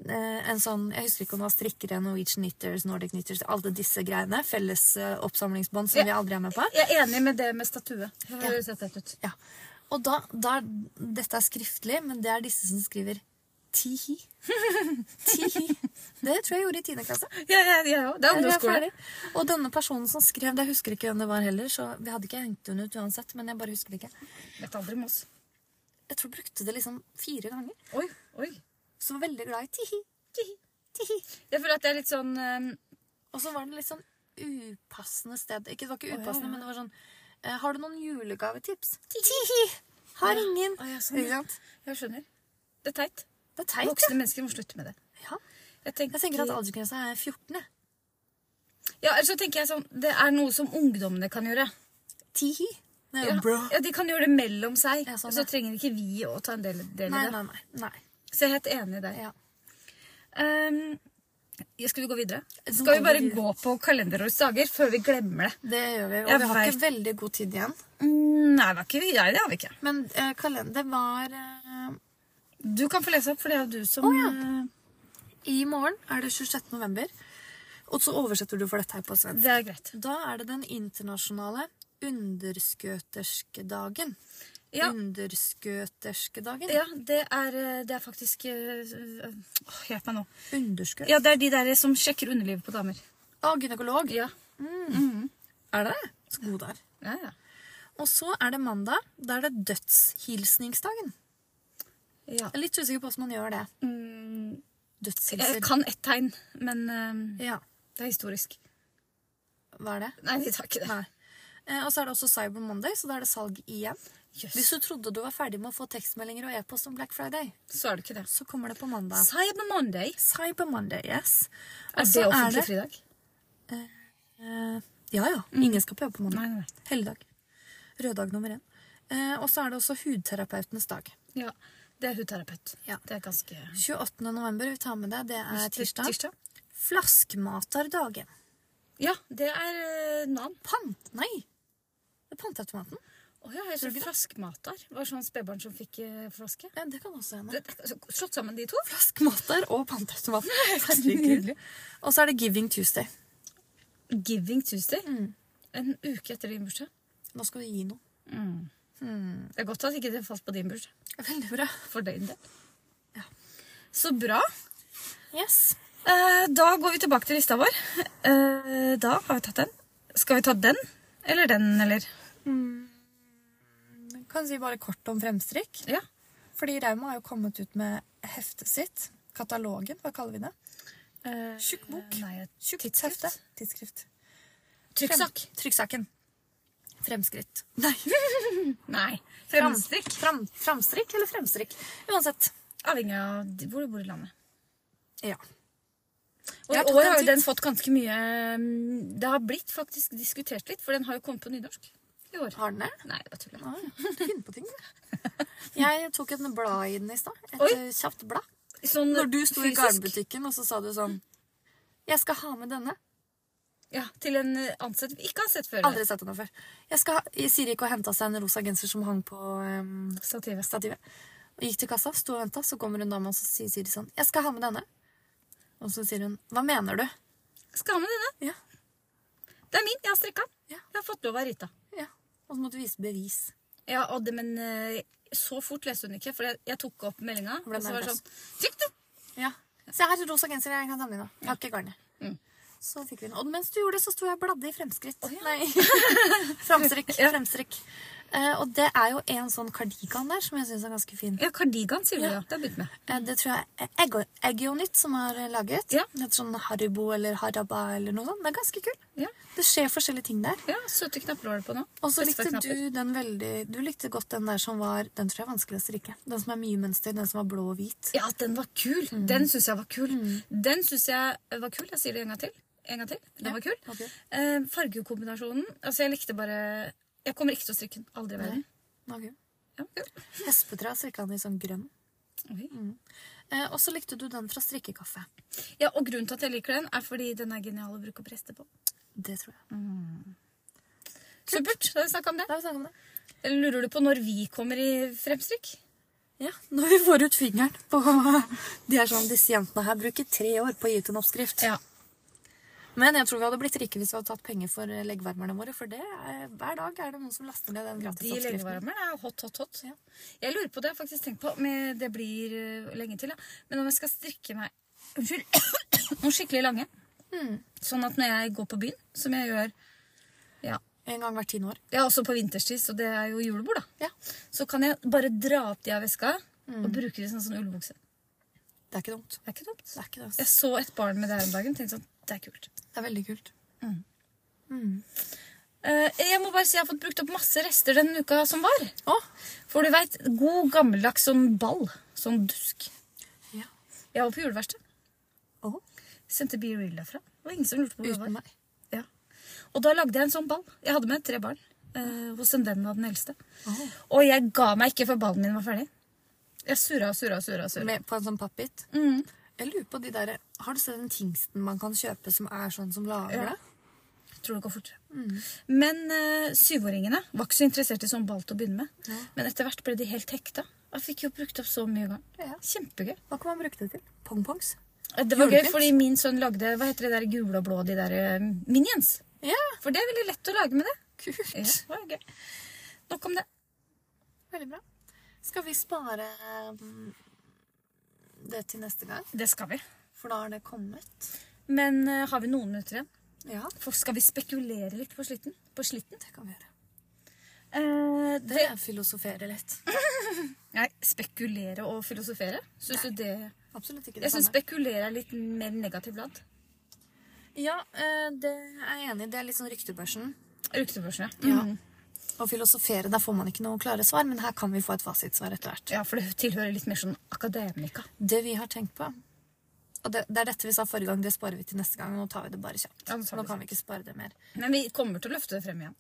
S2: eh, en sånn Jeg husker ikke om det var strikkere, Norwegian Knitters, Nordic Knitters, alle disse greiene. Felles eh, oppsamlingsbånd som
S1: Ja.
S2: vi aldri er med på.
S1: Jeg er enig med det med statue. Har
S2: Ja.
S1: du sett det ut?
S2: Ja. Og da, da Dette er skriftlig, men det er disse som skriver tihi. Tihi. Det tror jeg gjorde i 10. klasse.
S1: Ja, ja, ja, ja. Det er
S2: Jeg er
S1: ungdomsskole.
S2: ferdig. Og denne personen som skrev det, jeg husker ikke hvem det var heller, så vi hadde ikke hengt henne ut uansett, men jeg bare husker det ikke.
S1: Vet aldri med oss.
S2: Jeg tror jeg brukte det liksom fire ganger.
S1: Oi, oi.
S2: Så var veldig glad i tihi. Tihi. Tihi.
S1: Jeg føler at det er litt sånn eh,
S2: Og så var det litt sånn upassende sted. Ikke, det var ikke
S1: ja,
S2: upassende,
S1: ja.
S2: men det var sånn eh, Har du noen julegavetips? Tihi. Har ingen.
S1: Å, ja, sånn,
S2: Ikke
S1: ja.
S2: sant?
S1: Jeg skjønner. Det er teit.
S2: Det er teit.
S1: Voksne mennesker må slutte med det.
S2: ja. Ja.
S1: Jeg tenker,
S2: Jeg tenker at aldersgrensa er 14. jeg.
S1: ja, eller så tenker jeg sånn, Det er noe som ungdommene kan gjøre.
S2: Tihi. Det er
S1: Ja,
S2: jo bra.
S1: ja, De kan gjøre det mellom seg.
S2: Ja, sånn,
S1: og så
S2: ja.
S1: trenger ikke vi å ta en del, del
S2: Nei,
S1: i det.
S2: nei, nei. nei.
S1: Så jeg er helt enig i det.
S2: Ja.
S1: Ehm, ja, skal vi gå videre?
S2: Som
S1: Skal vi bare
S2: aldri-
S1: gå på kalenderårets dager før vi glemmer det?
S2: Det gjør vi. Og
S1: Jeg
S2: vi har
S1: vet.
S2: ikke veldig god tid igjen.
S1: Mm, Nei, det, var ikke, vi- nei, det har vi ikke.
S2: Men eh, kalender det var eh,
S1: Du kan få lese opp, for det er jo du som
S2: Å, ja.
S1: eh,
S2: I morgen er det 26. november. Og så oversetter du for dette her på svensk.
S1: Det er greit.
S2: Da er det den internasjonale underskøterskedagen.
S1: Ja.
S2: Underskøterskedagen?
S1: Ja, det er, eh, det er faktisk eh, eh, åh, Hjelp meg nå.
S2: Underskøt?
S1: Ja, det er de der som sjekker underlivet på damer.
S2: Å, Ah, gynekolog.
S1: Ja.
S2: Er det det? Så god det er.
S1: Ja, ja.
S2: Og så er det mandag. Da er det dødshilsningsdagen.
S1: ja.
S2: Jeg er litt usikker på hvordan man gjør det.
S1: Mm, jeg
S2: Dødshilser.
S1: kan ett tegn, men eh,
S2: Ja.
S1: det er historisk.
S2: Hva er det?
S1: Nei, vi tar ikke det.
S2: Nei. Eh, Og så er det også Cyber Monday, så da er det salg igjen.
S1: Jøss,
S2: Hvis du trodde du var ferdig med å få tekstmeldinger og e-post om Black Friday,
S1: så er det ikke det.
S2: så kommer det på mandag.
S1: Cyber Monday.
S2: Cyber Monday, yes. Og
S1: Er
S2: så
S1: det offentlig
S2: Altså, det-
S1: fridag?
S2: eh, Ja ja.
S1: Mm.
S2: Ingen skal på jobb på mandag.
S1: Nei, nei, nei.
S2: Helligdag. Røddag nummer én. Eh, og så er det også hudterapeutenes dag.
S1: Ja, det er hudterapeut.
S2: Ja.
S1: Det er ganske
S2: 28. november, vi tar med det. Det er tirsdag.
S1: Tirsdag?
S2: Flaskmaterdagen.
S1: Ja, det er uh, navn.
S2: Pant... Nei! Det er Panteautomaten.
S1: Å ja, jeg tror flaskmater var sånn spedbarn som fikk eh, flaske.
S2: Ja, det kan også hende.
S1: Det, det, slått sammen de to?
S2: Flaskmater og panteautomaten.
S1: nydelig.
S2: Herregud. Og så er det Giving Tuesday.
S1: Giving Tuesday.
S2: Mm.
S1: En uke etter din bursdag.
S2: Nå skal vi gi noe. Mm.
S1: Det er godt at ikke det falt på din bursdag.
S2: Hmm. Veldig bra.
S1: For din del.
S2: Ja.
S1: Så bra.
S2: Yes.
S1: Eh, da går vi tilbake til lista vår. Eh, da har vi tatt den. Skal vi ta den? Eller den, eller?
S2: Kan si bare kort om fremstrikk.
S1: Ja.
S2: Fordi Rauma har jo kommet ut med heftet sitt. Katalogen, hva kaller vi det?
S1: Eh,
S2: Tjukk bok.
S1: Nei, et
S2: Tjukt
S1: tidsskrift.
S2: hefte. Tidsskrift.
S1: Trykksak.
S2: Frem, trykksaken. Fremskritt. Nei.
S1: Nei.
S2: Framstrikk.
S1: Fremstrikk.
S2: Fram, framstrikk eller fremstrikk. Uansett.
S1: Avhengig av d- hvor du bor i landet.
S2: Ja.
S1: Og i
S2: Jeg har tatt
S1: år
S2: en
S1: har jo
S2: titt.
S1: den fått ganske mye mm, Det har blitt faktisk diskutert litt, for den har jo kommet på nynorsk i år.
S2: Har den det?
S1: Nei, det var tull.
S2: Nei, du finner på ting. du. Jeg tok et blad i den i stad. Et
S1: Oi.
S2: eh, kjapt blad.
S1: Sånn
S2: Når du sto i
S1: fysisk-
S2: garnbutikken, og så sa du sånn Jeg skal ha med denne.
S1: Ja, til en eh, ansatt vi ikke har sett før.
S2: Aldri sett henne før. Jeg skal ha, Siri gikk og henta seg en rosa genser som hang på eh,
S1: Stativet.
S2: stativet. Og gikk til kassa, sto og venta, så kommer hun dama og så sier Siri sånn 'Jeg skal ha med denne'. Og så sier hun 'Hva mener du?'
S1: Skal ha med denne.
S2: Ja.
S1: Det er min. Jeg har strikka den.
S2: Ja.
S1: Jeg har fått lov av Rita.
S2: ja. Og så måtte du vise bevis.
S1: Ja, og det, men eh, så fort leste hun ikke, for jeg, jeg tok opp meldinga.
S2: ble
S1: Og så var det
S2: nervøs.
S1: sånn Trykk, du!
S2: Ja. Se her, rosa genser. Jeg kan ta den i nå. Jeg har ikke garnet. Så fikk vi den. Og mens du gjorde det, så sto jeg og bladde i fremskritt. Nei. Fremstrykk.
S1: Ja.
S2: Fremstrykk. Eh, og det er jo en sånn kardigan der som jeg syns er ganske fin.
S1: Ja, kardigan, sier du.
S2: Ja.
S1: Ja. Det har jeg begynt med.
S2: Eh, det tror jeg er Eggo- Eggonit som har eh, laget.
S1: Ja.
S2: Et sånn Haribo eller Haraba eller noe sånt. Den er ganske kul.
S1: Ja.
S2: Det skjer forskjellige ting der.
S1: ja, Søte knapper var det på nå.
S2: Og så
S1: Beste
S2: likte
S1: knapper.
S2: du den veldig Du likte godt den der som var Den tror jeg er vanskelig å strikke. Den som er mye mønster. Den som var blå og hvit.
S1: Ja, den var kul.
S2: Mm.
S1: Den syns jeg var kul. Den syns jeg var kul. Jeg sier det en gang til. En gang til. Den
S2: Ja,
S1: var kul.
S2: ok.
S1: Eh, fargekombinasjonen Altså, jeg likte bare Jeg kommer ikke til å strikke den. Aldri i verden.
S2: Den var kul.
S1: Ja, kul.
S2: Hespetre strikka den i sånn grønn.
S1: Oi.
S2: Eh, og så likte du den fra strikkekaffe.
S1: ja, og grunnen til at jeg liker den, er fordi den er genial å bruke opp rester på.
S2: Det tror jeg.
S1: Supert. Da har vi snakka om det.
S2: Da har vi snakket om det.
S1: Lurer du på når vi kommer i fremstrykk?
S2: Ja, Når vi får ut fingeren på De er sånn, disse jentene her bruker tre år på å gi ut en oppskrift.
S1: Ja.
S2: Men jeg tror vi hadde blitt rike hvis vi hadde tatt penger for eh, leggvarmerne våre. For det er, hver dag er det noen som laster ned den gratis
S1: De
S2: oppskriften.
S1: legevarmerne er hot, hot, hot.
S2: Ja.
S1: Jeg lurer på det, jeg har faktisk tenkt på, men det blir øh, lenge til, ja. Men om jeg skal strikke meg Unnskyld. noen skikkelig lange. Sånn at når jeg går på byen, som jeg gjør ja.
S2: En gang hvert tiende år.
S1: ja, også på vinterstid, så det er jo julebord, da.
S2: Ja.
S1: Så kan jeg bare dra opp de av veska og bruke det som sånn ullbukse.
S2: Det er ikke dumt.
S1: Det er ikke dumt.
S2: Det er, ikke det,
S1: Jeg
S2: ass.
S1: så et barn med det her om dagen, tenkte sånn Det er kult.
S2: det er veldig kult.
S1: Eh, jeg må bare si jeg har fått brukt opp masse rester denne uka som var.
S2: Å!
S1: For du veit, god gammeldags sånn ball. Sånn dusk.
S2: Ja.
S1: Jeg var på juleverksted.
S2: Å,
S1: Sendte Be Real derfra. Det var ingen som lurte på hvor jeg
S2: Uten
S1: var.
S2: meg.
S1: Ja. Og da lagde jeg en sånn ball. Jeg hadde med tre barn eh, hos en venn av den eldste. Og jeg ga meg ikke før ballen min var ferdig. Jeg surra og surra og surra. og surra.
S2: Med, på en sånn pappbit. Jeg lurer på de der, Har du sett den tingsten man kan kjøpe som er sånn som lager
S1: Ja.
S2: det?
S1: Jeg Tror det går fortere.
S2: Mm.
S1: Men eh, syvåringene var ikke så interessert i sånn ball til å begynne med.
S2: Ja.
S1: Men etter hvert ble de helt hekta. Jeg fikk jo brukt opp så mye gang.
S2: Ja.
S1: Kjempegøy. Eh,
S2: Hva kan man bruke det til? Pongpongs?
S1: Det var gøy
S2: Julepynt?
S1: fordi min sønn lagde hva heter det der gule og blå, de der eh, minions.
S2: Ja,
S1: For det er veldig lett å lage med det.
S2: kult.
S1: Ja, det var gøy. Nok om det.
S2: Veldig bra. Skal vi spare um, det til neste gang?
S1: Det skal vi.
S2: For da har det kommet.
S1: Men eh, har vi noen minutter igjen?
S2: Ja,
S1: For skal vi spekulere litt på slitten? På slitten?
S2: det kan vi gjøre.
S1: Eh, det,
S2: Det filosoferer litt.
S1: nei, spekulere og filosofere? Syns du det
S2: Absolutt ikke det
S1: Jeg syns
S2: samme.
S1: spekulere er litt mer negativt blant.
S2: Ja, eh, det er jeg enig i. Det er litt sånn ryktebørsen.
S1: Ryktebørsen, ja.
S2: Ja.
S1: Mhm.
S2: Å filosofere, der får man ikke noe klare svar, men her kan vi få et fasitsvar etter hvert.
S1: ja. For det tilhører litt mer sånn akademika.
S2: Det vi har tenkt på, og det, det er dette vi sa forrige gang, det sparer vi til neste gang. Nå tar vi det bare kjapt.
S1: Ja, nå tar
S2: For
S1: vi det
S2: nå kan vi ikke spare det mer.
S1: Men vi kommer til å løfte det frem igjen.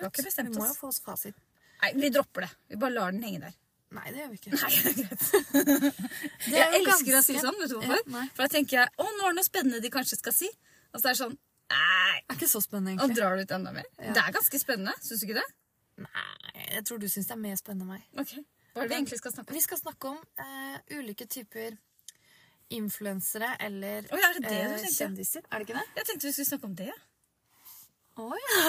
S1: Vi har ikke bestemt
S2: vi må
S1: oss.
S2: jo få oss fasit.
S1: Nei, vi dropper det. Vi bare lar den henge der.
S2: Nei, det gjør vi ikke.
S1: Nei, det er greit.
S2: Det er
S1: Jeg
S2: jo
S1: elsker å si
S2: ganske-
S1: sånn, vet du
S2: Ja,
S1: hvorfor?
S2: nei.
S1: For da tenker jeg å, nå er det noe spennende de kanskje skal si. Og så er det sånn nei.
S2: Det er ikke så spennende,
S1: Og
S2: egentlig.
S1: drar det ut enda mer.
S2: Ja.
S1: Det er ganske spennende, syns du ikke det?
S2: Nei, jeg tror du syns det er mer spennende enn meg.
S1: Ok, Hva er det vi egentlig skal snakke om?
S2: Vi skal snakke om eh, ulike typer influensere eller
S1: Oi, er det det du
S2: eh,
S1: tenkte?
S2: kjendiser. Er det ikke det?
S1: Jeg tenkte vi skulle snakke om det.
S2: Å ja!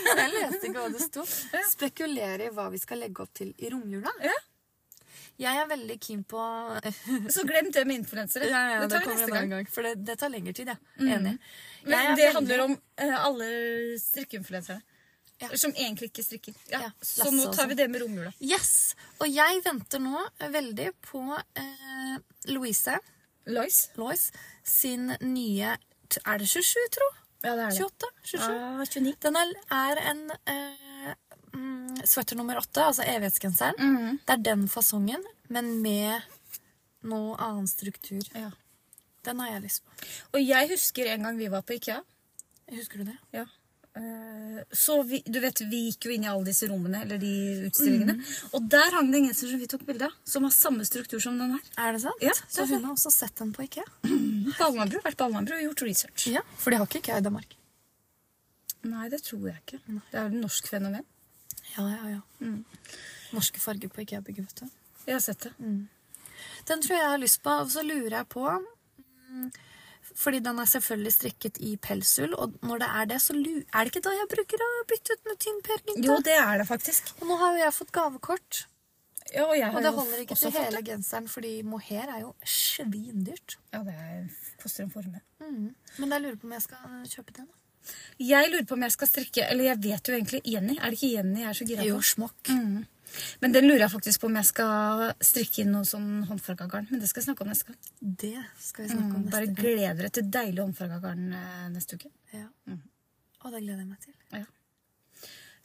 S2: jeg leste ikke hva det sto. Spekulere i hva vi skal legge opp til i romjula.
S1: Ja.
S2: Jeg er veldig keen på
S1: Så glem det med influensere. det tar vi
S2: kommer
S1: neste
S2: en annen
S1: gang. Mm.
S2: For det, det tar lengre tid, ja. Enig.
S1: Men det handler om eh, alle strikkeinfluenserne.
S2: Ja.
S1: Som egentlig ikke strikker. Ja.
S2: Ja,
S1: Så
S2: Lasse
S1: nå tar
S2: også.
S1: vi det med romjula.
S2: Yes! Og jeg venter nå veldig på eh, Louise
S1: Lois?
S2: Lois sin nye t- Er det 27, tro?
S1: Ja, det er det.
S2: 28? 27?
S1: Ah, 29.
S2: Den er, er en eh, mm, sweater nummer åtte, altså evighetsgenseren. Det er den fasongen, men med noe annen struktur.
S1: Ja.
S2: Den har jeg lyst på.
S1: Og jeg husker en gang vi var på IKEA.
S2: Husker du det?
S1: Ja. Eh, Så vi, du vet, vi gikk jo inn i alle disse rommene, eller de utstillingene.
S2: Mhm.
S1: Og der hang det en genser som vi tok bilde av, som har samme struktur som den her.
S2: Er det sant?
S1: Ja,
S2: Så
S1: det er
S2: hun har også sett den på IKEA?
S1: På Alnabru, vært på Alnabru og gjort research.
S2: Ja, For de har ikke IKEA i Danmark.
S1: Nei, det tror jeg ikke. Det er jo et norsk fenomen.
S2: Ja, ja, ja. Mm. Norske farger på IKEA-bygget, vet du.
S1: Jeg har sett det.
S2: Den tror jeg jeg har lyst på, og så lurer jeg på mm, fordi den er selvfølgelig strikket i pelsull, og når det er det, så lu- er det ikke da jeg bruker å bytte ut med tynn Per Gynt?
S1: Jo, det er det faktisk.
S2: Og nå har jo jeg fått gavekort.
S1: Ja, og jeg har
S2: Og det
S1: jo
S2: holder ikke
S1: også
S2: til
S1: fått
S2: hele
S1: det.
S2: genseren, fordi mohair er jo svindyrt.
S1: Ja, det er, koster en formue.
S2: Men jeg lurer på om jeg skal eh, kjøpe den. da.
S1: Jeg lurer på om jeg skal strikke Eller jeg vet jo egentlig Jenny. Er det ikke Jenny jeg er så gira på?
S2: smokk.
S1: Mm. Men den lurer jeg faktisk på om jeg skal strikke inn noe sånn håndfarga garn. Men det skal jeg snakke om neste gang.
S2: Det skal vi snakke om
S1: Bare
S2: neste gang.
S1: gleder deg til deilig håndfarga garn eh, neste uke.
S2: Ja. Og det gleder jeg meg til.
S1: Ja.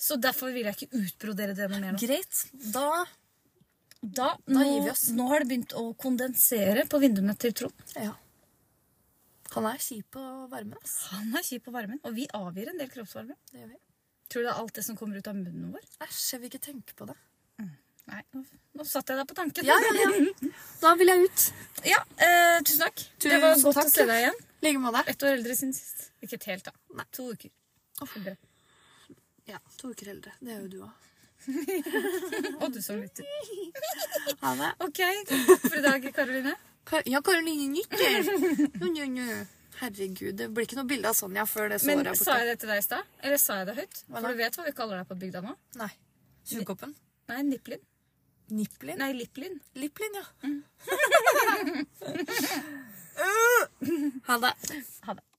S1: Så derfor vil jeg ikke utbrodere det noe mer nå.
S2: Greit. Da
S1: Da,
S2: Da
S1: nå,
S2: gir vi oss.
S1: nå har det begynt å kondensere på vinduene til Trond.
S2: Ja. Han er kjip på varmen, ass.
S1: Han er kjip på varmen, og vi avgir en del kroppsvarme.
S2: Det gjør vi.
S1: Tror du det er alt det som kommer ut av munnen vår?
S2: Æsj, jeg vil ikke tenke på det.
S1: Nei, nå, nå satte jeg deg på tanken.
S2: Ja, ja, ja. Da vil jeg ut.
S1: Ja, eh, tusen takk. det
S2: Tusen
S1: var godt
S2: takk.
S1: å se deg igjen.
S2: I like måte.
S1: Ett år eldre siden sist. Ikke et helt, da.
S2: Nei.
S1: To uker. Eldre.
S2: Ja, to uker eldre. Det er jo du òg.
S1: Og du som lytter.
S2: Ha det.
S1: Ok, takk for i dag, Karoline.
S2: Ka- Ja, Karoline nikker. Njo, njo, njo. Herregud, det blir ikke noe bilde av Sonja før det
S1: Men
S2: såret er
S1: sa
S2: borte.
S1: jeg det til deg i stad? Eller sa jeg det høyt?
S2: Hva
S1: For
S2: da?
S1: du vet hva vi kaller deg på bygda nå?
S2: Nei. Sugkoppen.
S1: Nei, Nipplin.
S2: Nipplin?
S1: Nei, Mm. Lipplin.
S2: Lipplin, ja. ha det.
S1: Ha det.